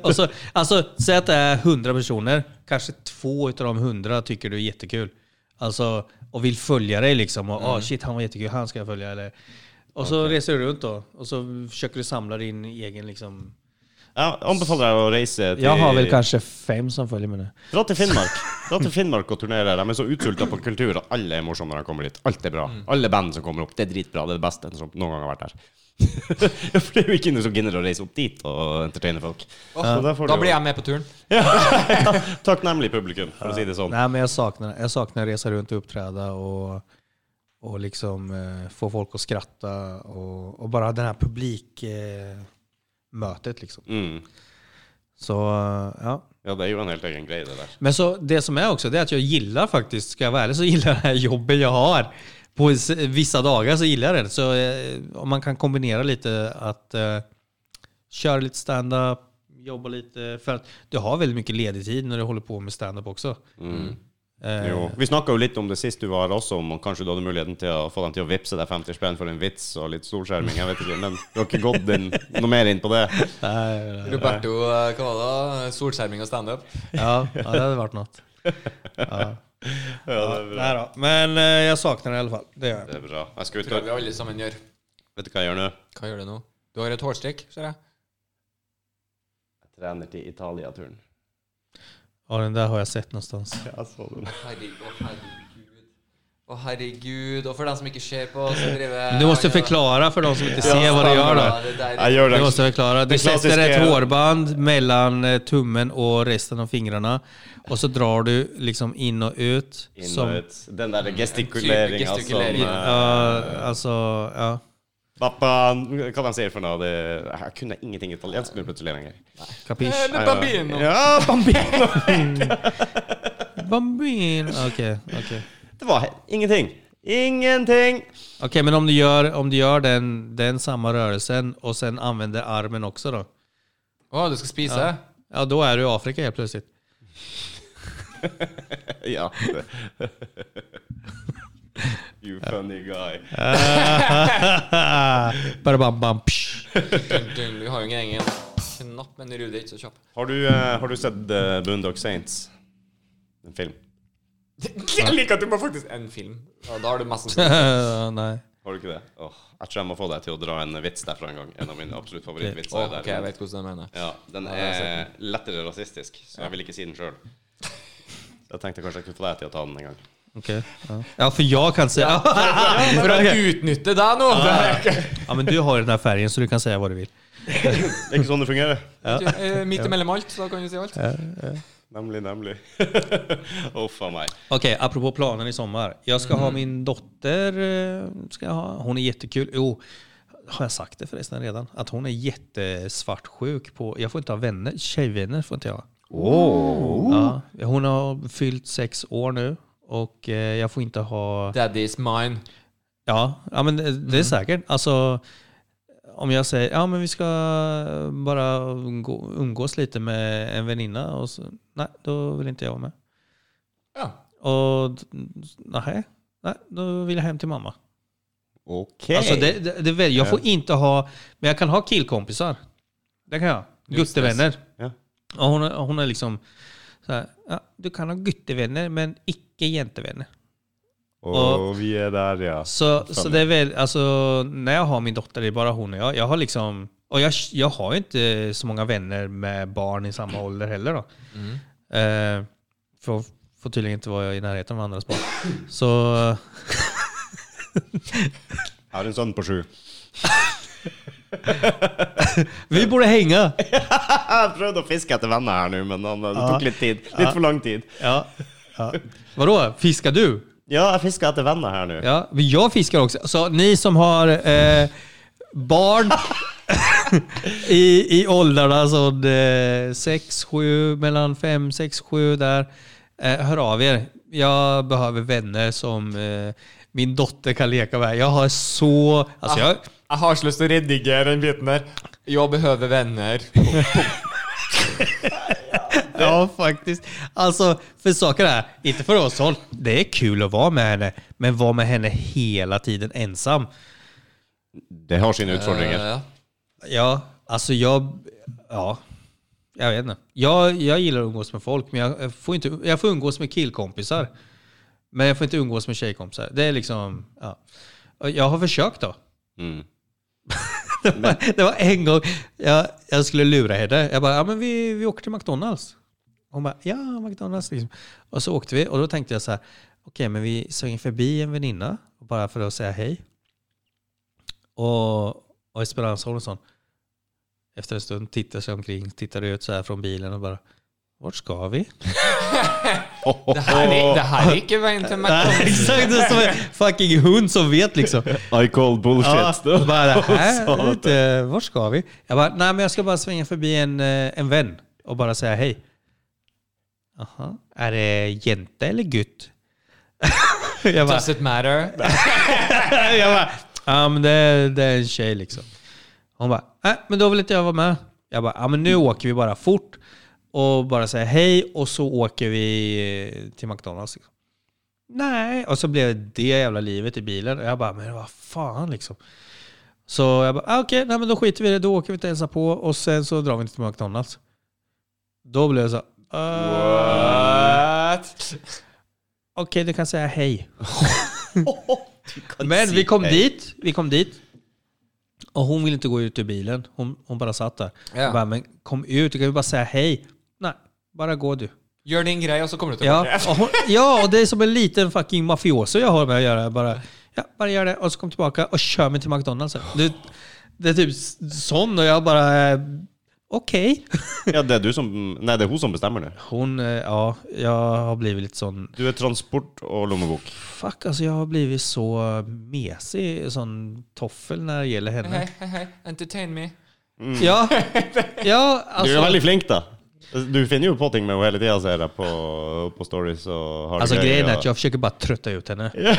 och så, alltså, säg att det är 100 personer, kanske två utav de 100 tycker du är jättekul. Alltså, och vill följa dig liksom. Och, Mm. "Ah, shit, han var jättekul, han ska jag följa. Eller, och så reser du runt då och så försöker du samla din egen liksom... Eh, Jeg anbefaler deg å reise til kanske fem som följer mig nu. Dra til Finnmark. Dra til Finnmark og turnere. De er så utsulta på kultur, og alle er morsomme når de kommer dit. Alt er bra. Mm. Alle band som kommer opp, det er dritbra. Det er det beste som noen gang har vært der. <laughs> Ja, For det er jo ikke noen som gidder å reise opp dit og entertaine folk. Så der får Da du blir <laughs> jo- jeg med på turen. Takknemlig publikum, for å si det sånn. Nej, men jag saknar, jag saknar att resa runt och uppträda och, och liksom, eh, få folk att skratta och, och bara det här publikmötet. Eh, mötet, liksom. Mm. Så, eh, ja. Ja, det er jo en helt egen greie, det der. Men så, det som är också, det är att jag gillar faktiskt, ska jag vara ärlig, så gillar jag det här jobbet jag har. På s- vissa dagar så gillar jag det. Så eh, om man kan kombinera lite att eh, köra lite stand-up, jobba lite. För att du har väldigt mycket ledig tid när du håller på med stand-up också. Eh, Jo. Vi snakka jo litt om det sist du var her også, om kanskje du hadde muligheten til å få dem til å vippse deg 50 spenn for en vits og litt solskjerming. Jeg vet ikke, men du har ikke gått inn, noe mer inn på det. nej, nej. Roberto, eh, hva var det? Solskjerming og standup? Ja, ja, det hade varit något. Ja. Ja, <laughs> nej då. Men eh, jag saknar det i alla fall. Det gör jag. Det er bra. Jeg skal ut Tror jeg og vi alle sammen gjør. Vet du hva jeg gjør nå? Hva gjør du nå? Du har et hårstrikk, ser jeg. Jeg trener til Italia-turen. Ja, den där har jeg sett någonstans. Jeg så den. Herregud, å herregud. Å herregud. Og for dem som ikke ser på, så driver Men du måste förklara för de som inte ser vad du gör då. Jeg gjør Du det. måste förklara. Du Det klassiska- sätter ett hårband mellan eh, tummen och resten av fingrarna. Och så drar du liksom in och ut. Inn som, Mm. Typ og ut. Den der gestikuleringa som gestikulering. Ja, eh, alltså, ja. Pappa, hva de sier for noe? Det, jeg kunne ingenting italiensk nå plutselig lenger. Capiche? Eller bambino. Ja, bambino. <laughs> Bambin! Okej, okej. Det var he- ingenting. Ingenting. Okej, men om du gör, om du gör den, den samma rörelsen och sen använder armen också då? Å, du skal spise? Ja, då är du i Afrika helt plötsligt. Ja. <laughs> You funny guy. Bara bam, bam, psh. Dun, dun, Vi har jo ingen egen knapp, men Rudi er ikke så kjapp. Har du, eh, har du sett eh, Boondock Saints? En film. Jeg liker at du må faktisk en film. Ja, da har du mest sannsynlig Ja, <laughs> Nej. Har du ikke det? Åh, jeg tror jeg må få deg til å dra en vits derfra en gang. En av mine absolutt Å, favorittvitser. er der. Ok, jeg vet hvordan du mener. Ja, den er lettere rasistisk, så jeg vil ikke si den <laughs> sjøl. Jeg tenkte kanskje jeg kunne få deg til å ta den en gang. Okej. Ja. ja, för jag kan säga... For å utnytte deg nå! <laughs> Ja, men du har ju den här färgen så du kan säga vad du vill. Det er ikke sånn det fungerer. Eh, Midt imellom alt, så da kan du si alt. Nemlig, <laughs> nemlig. Uff a meg. Okej, apropå planen i sommar. Jag ska ha min dotter. eh, Ska jag ha. Hon är jättekul. Jo, har jag sagt det förresten redan? Att hon är jättesvartsjuk på... Jag får inte ha vänner. Tjejvänner får inte jag ha. Ja, hon har fyllt sex år nu och eh, jag får inte ha... Daddy's mine. Ja, ja men det, Mm. det är säkert. Alltså, om jag säger ja men vi ska bara umgå- umgås lite med en väninna och så, nej, då vill inte jag vara med. Ja. Och d- nej, nej, då vill jag hem till mamma. OK. Alltså det, det, det, väl- jag får inte ha, men jag kan ha killkompisar. Det kan jag. Just det. Guttevänner. Ja. Och hon, är- hon är liksom så här, ja, du kan ha guttevänner men icke jentevänner. Og vi er der, ja. Så, så det är väl, alltså när jag har min dotter, det är bara hon och jag. Jag har liksom, och jag, jag har ju inte så många vänner med barn i samma ålder heller då. Eh, för får tydligen inte vara i närheten av andras barn. Så, Jeg har en sønn på sju. vi borde hänga! Jeg prøvde å fiske etter venner her nå, men han, det tok litt tid. Litt for lang tid. Ja. Ja. Vadå, fiskar du? Ja, jeg fisker etter venner her nå. Ja, men jag fiskar också. Så ni som har eh, barn i, i åldrarna alltså, så det, 6, 7, mellan 5, 6, 7 där. Eh, hör av er. Jag behöver vänner som eh, min dotter kan leka med. Jag har så... Alltså jag, Jeg har så lyst til å redigere den biten der. Jeg behøver venner. ja, faktiskt. Alltså, för saker är, inte för oss håll. Det är kul att vara med henne, men vara med henne hela tiden ensam. Det har sine utfordringer. Ja. Ja, alltså jag... Ja. Jag vet inte. Jag, jag gillar att umgås med folk, men jag får, inte, jag får umgås med killkompisar. Men jag får inte umgås med tjejkompisar. Det är liksom... Ja. Och Jag har försökt då. Mm. <laughs> Det var, det var en gång jag, jag skulle lura henne. Jag bara, ja men vi, vi åker till McDonalds. Hon bara, ja McDonalds liksom. Och så åkte vi och då tänkte jag så här, okej men vi svänger förbi en väninna bara för att säga hej. Och, och Esperanza Olsson, efter en stund tittar sig omkring, tittar ut så här från bilen och bara, vart ska <laughs> vi? Eh, Det, her er, det her er ikke veien til <laughs> Nej, McDonald's. Exakt, det är som en fucking hund som vet <laughs> liksom. I call bullshit. Ja, bara, det sa här, det. vet du, vart ska vi? Jag bara, nej men jag ska bara svänga förbi en, eh, en vän och bara säga hej. Jaha, är det jente eller gutt? <laughs> jag bara, Does it matter? jag bara ja men det, det är en tjej "Äh, liksom. Hon bara, nej men då vill inte jag vara med. Jag bara, ja men nu åker vi bara fort. och bara säga hej och så åker vi eh, till McDonalds. Liksom. Nej, och så blev det det jävla livet i bilen. Och jag bara, men vad fan liksom. Så jag bara, ah, okej, nej, men då skiter vi i det. Då åker vi inte ensa på och sen så drar vi inte till McDonalds. Då blev jag så, här, "Eh, What? okej du kan säga hej. Du kan Men si- vi kom Hej. dit, vi kom dit. Och hon ville inte gå ut ur bilen. Hon, hon bara satt där. Ja. Jag bara, men kom ut, du kan ju bara säga hej. Nej, bara gå du. Gör din grej och så kommer du tillbaka. Ja, och, hon, ja, och det är som en liten fucking mafioso jag har med att göra. Jag Bara, ja, bara gör det och så kom tillbaka och kör mig till McDonalds. Det, det är typ sån och jag bara, eh, okej. <laughs> Ja, det är du som... Nej, det är hon som bestämmer nu. Hon, eh, ja, jag har blivit lite sån, Du är transport och lommebok. fuck alltså jag har blivit så mesig, sån toffel när det gäller henne. Hej, hej, hej. Entertain me. <laughs> Ja, ja alltså. Du är veldig flink, da. Du finner jo på ting med henne hele tida, ser jeg, på, på stories og har Alltså grejen är og- <laughs> att jag försöker bara trötta ut henne. Jeg vet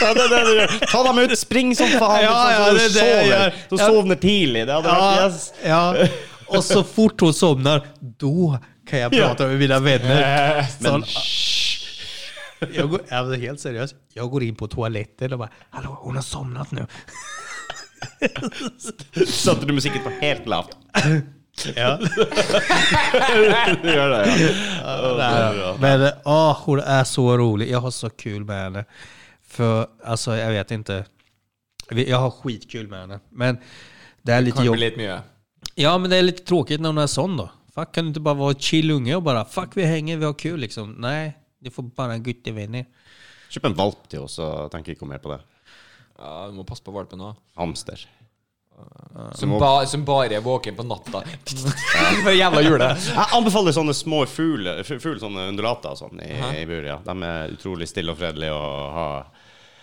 det, det, er det, du gjør. Ta dem ut, spring som faen! Ja, sånn som ja, du det er det jeg sover. gjør. Så Ja. sovner tidlig. Det hadde vært yes. ja. Och så fort hon somnar, då kan jag prata med mina vänner. Sån, jag går, ja, men helt seriöst, jag går in på toaletten och bara Hallå, hon har somnat nu. Satte du musikken på helt lavt? <laughs> Ja. <laughs> Du gjør det, ja. Ja, det er bra. Men åh, hon är så rolig. Jag har så kul med henne. För alltså, jag vet inte. Vi- Jag har skitkul med henne. Men det är lite Kan jobbigt. bli lite mye. Ja, men det är lite tråkigt när hon är sån då. Fuck, kan du inte bara vara chill unge och bara fuck vi hänger, vi har kul liksom. Nej, du får bara en guttevänner. Kjøp en valp til oss, så tenker vi ikke mer på det. Ja, du må passe på valpen òg. Hamster. Som, ba, som bare er våken på natta. For jævla jule. <laughs> Jeg anbefaler sånne små fugler, fu- fugl, sånne undulater og sånn i, i bur, ja. De er utrolig stille og fredelige og har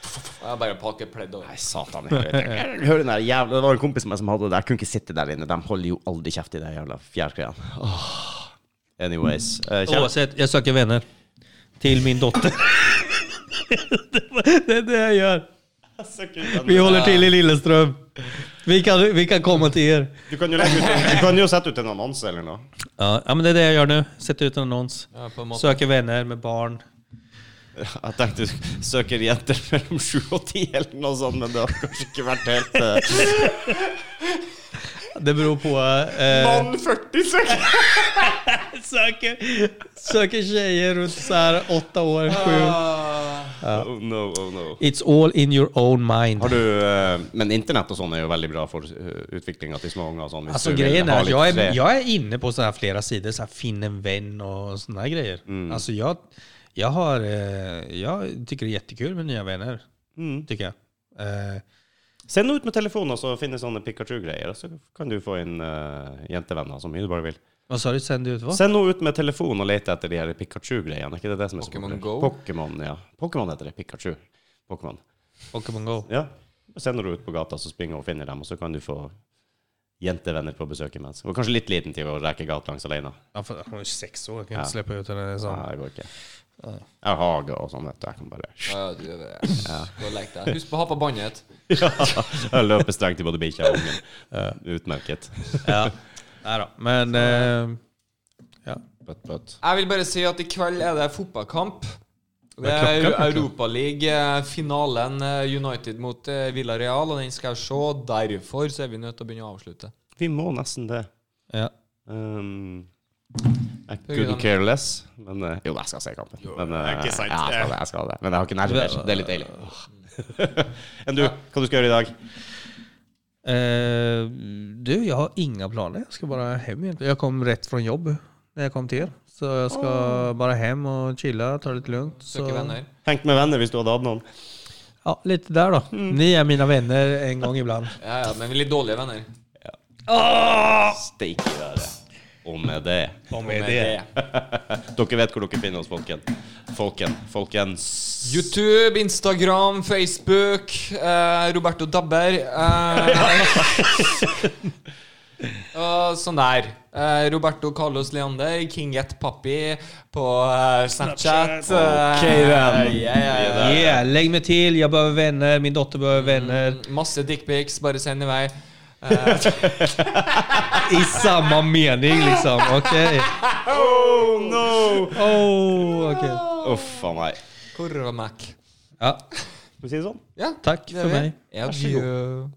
Og jeg bare pakker pledd over. Nei, satan. Jeg hører- <laughs> jeg hører den der jævla Det var en kompis av meg som hadde det. Jeg kunne ikke sitte der inne. De holder jo aldri kjeft i de jævla fjærkreene. Åh. Anyways. Eh, kjære- Oavsett, jag söker vänner. Till min <laughs> dotter. det är det jag gör. Vi håller till i Lilleström. Vi kan, vi kan komma till er. Du kan jo, legge ut en, du kan jo sette ut en annonse eller noe. Ja, ja, men det är det jag gör nu. Sätter ut en annons. Ja, på en måte. Söker vänner med barn. Jeg tenkte du søker jenter mellom sju og ti eller noe sånt, men det har kanskje ikke vært helt eh, Det beror på... Eh, Mann 40 søker! <laughs> söker, söker tjejer runt så här åtta år, sju. Oh no, oh no. Ah. It's all in your own mind. Har du, eh, men internett og sånn er jo veldig bra eh, for utviklinga til små unger. og Sånn, hvis Alltså du vil grejen ha är, att litt jag är, fred. jag är inne på så här flera sidor, så här finn en vän och såna här grejer. Alltså jag, jag, har, eh, jag tycker det är jättekul med nya vänner, Mm. tycker jag. Eh, Send ut med telefonen, og så finne sånne Pikachu-greier. Og så kan du få inn eh, jentevenner så mye du bare vil. vad sa du, sände ut vad? Send henne ut med telefon och leta efter de här Pikachu-grejerna. Är inte det det som är så Pokémon populärt? Go? Pokémon, ja. Pokémon heter det. Pikachu. Pokémon. Pokémon Go. Ja. Send henne ut på gata, så springer hon och finner dem. Och så kan du få jentevänner på besök imens. Hon är kanske lite liten till att räcka gatan längs alena. Ja, för hon är sex år, jag kan Ja. inte släppa ut henne så. Nej, det går inte. Jag har hage och sånt. vet du. Jag kan bara... Ja, du er det. Gå og lek deg. Husk på å ha på båndet. Ja. Jag löper strängt till både bikkja och ungen. Eh, Utmärket. Ja. <laughs> Nej då. Men eh, ja. But, but. Jeg vil bare si at i kveld er det fotballkamp. Det er klokka, er klokka. Europaliga-finalen United mot eh, Villarreal, og den skal jeg se. Derfor så er vi nødt til å begynne å avslutte. Vi må nästan det. ja. Um, I Høyre couldn't den. care less. Men, eh, jo, jeg skal se kampen. Men, eh, ikke sant, ja, jeg, skal det, jeg skal det. Men jeg har ikke nerver. Det er litt deilig. <laughs> Enn du, hva du skal gjøre i dag? Eh, du, jag har inga planer. Jag ska bara hem egentligen. Jag kom rätt från jobb när jag kom till er. Så jag ska bara hem och chilla, ta det lite lugnt. Søke så. venner. Tenk med venner hvis du hadde hatt noen. Ja, lite där då. Ni är mina vänner en gång ibland. Ja, ja, men vi er litt dårlige venner. Steik i røret. Og med det Om Med det. <laughs> Dere vet hvor dere finner oss, folken. Folken. Folkens. YouTube, Instagram, Facebook, eh, Roberto Dabber eh, og Sånn der. Eh, Roberto Carlos Leander, Kinget Papi på eh, Snapchat. Ok, eh, den. ja, ja, ja. Yeah, lägg mig till. Jag behöver vänner. Min dotter behöver vänner. Masse dickpics, bare send i vei. Eh, I samma mening liksom. Okej. Oh no! Oh, okej. Uff a meg. Korvamäck. Ja, Skal vi si det sånn? Ja, tack för mig. Adjö.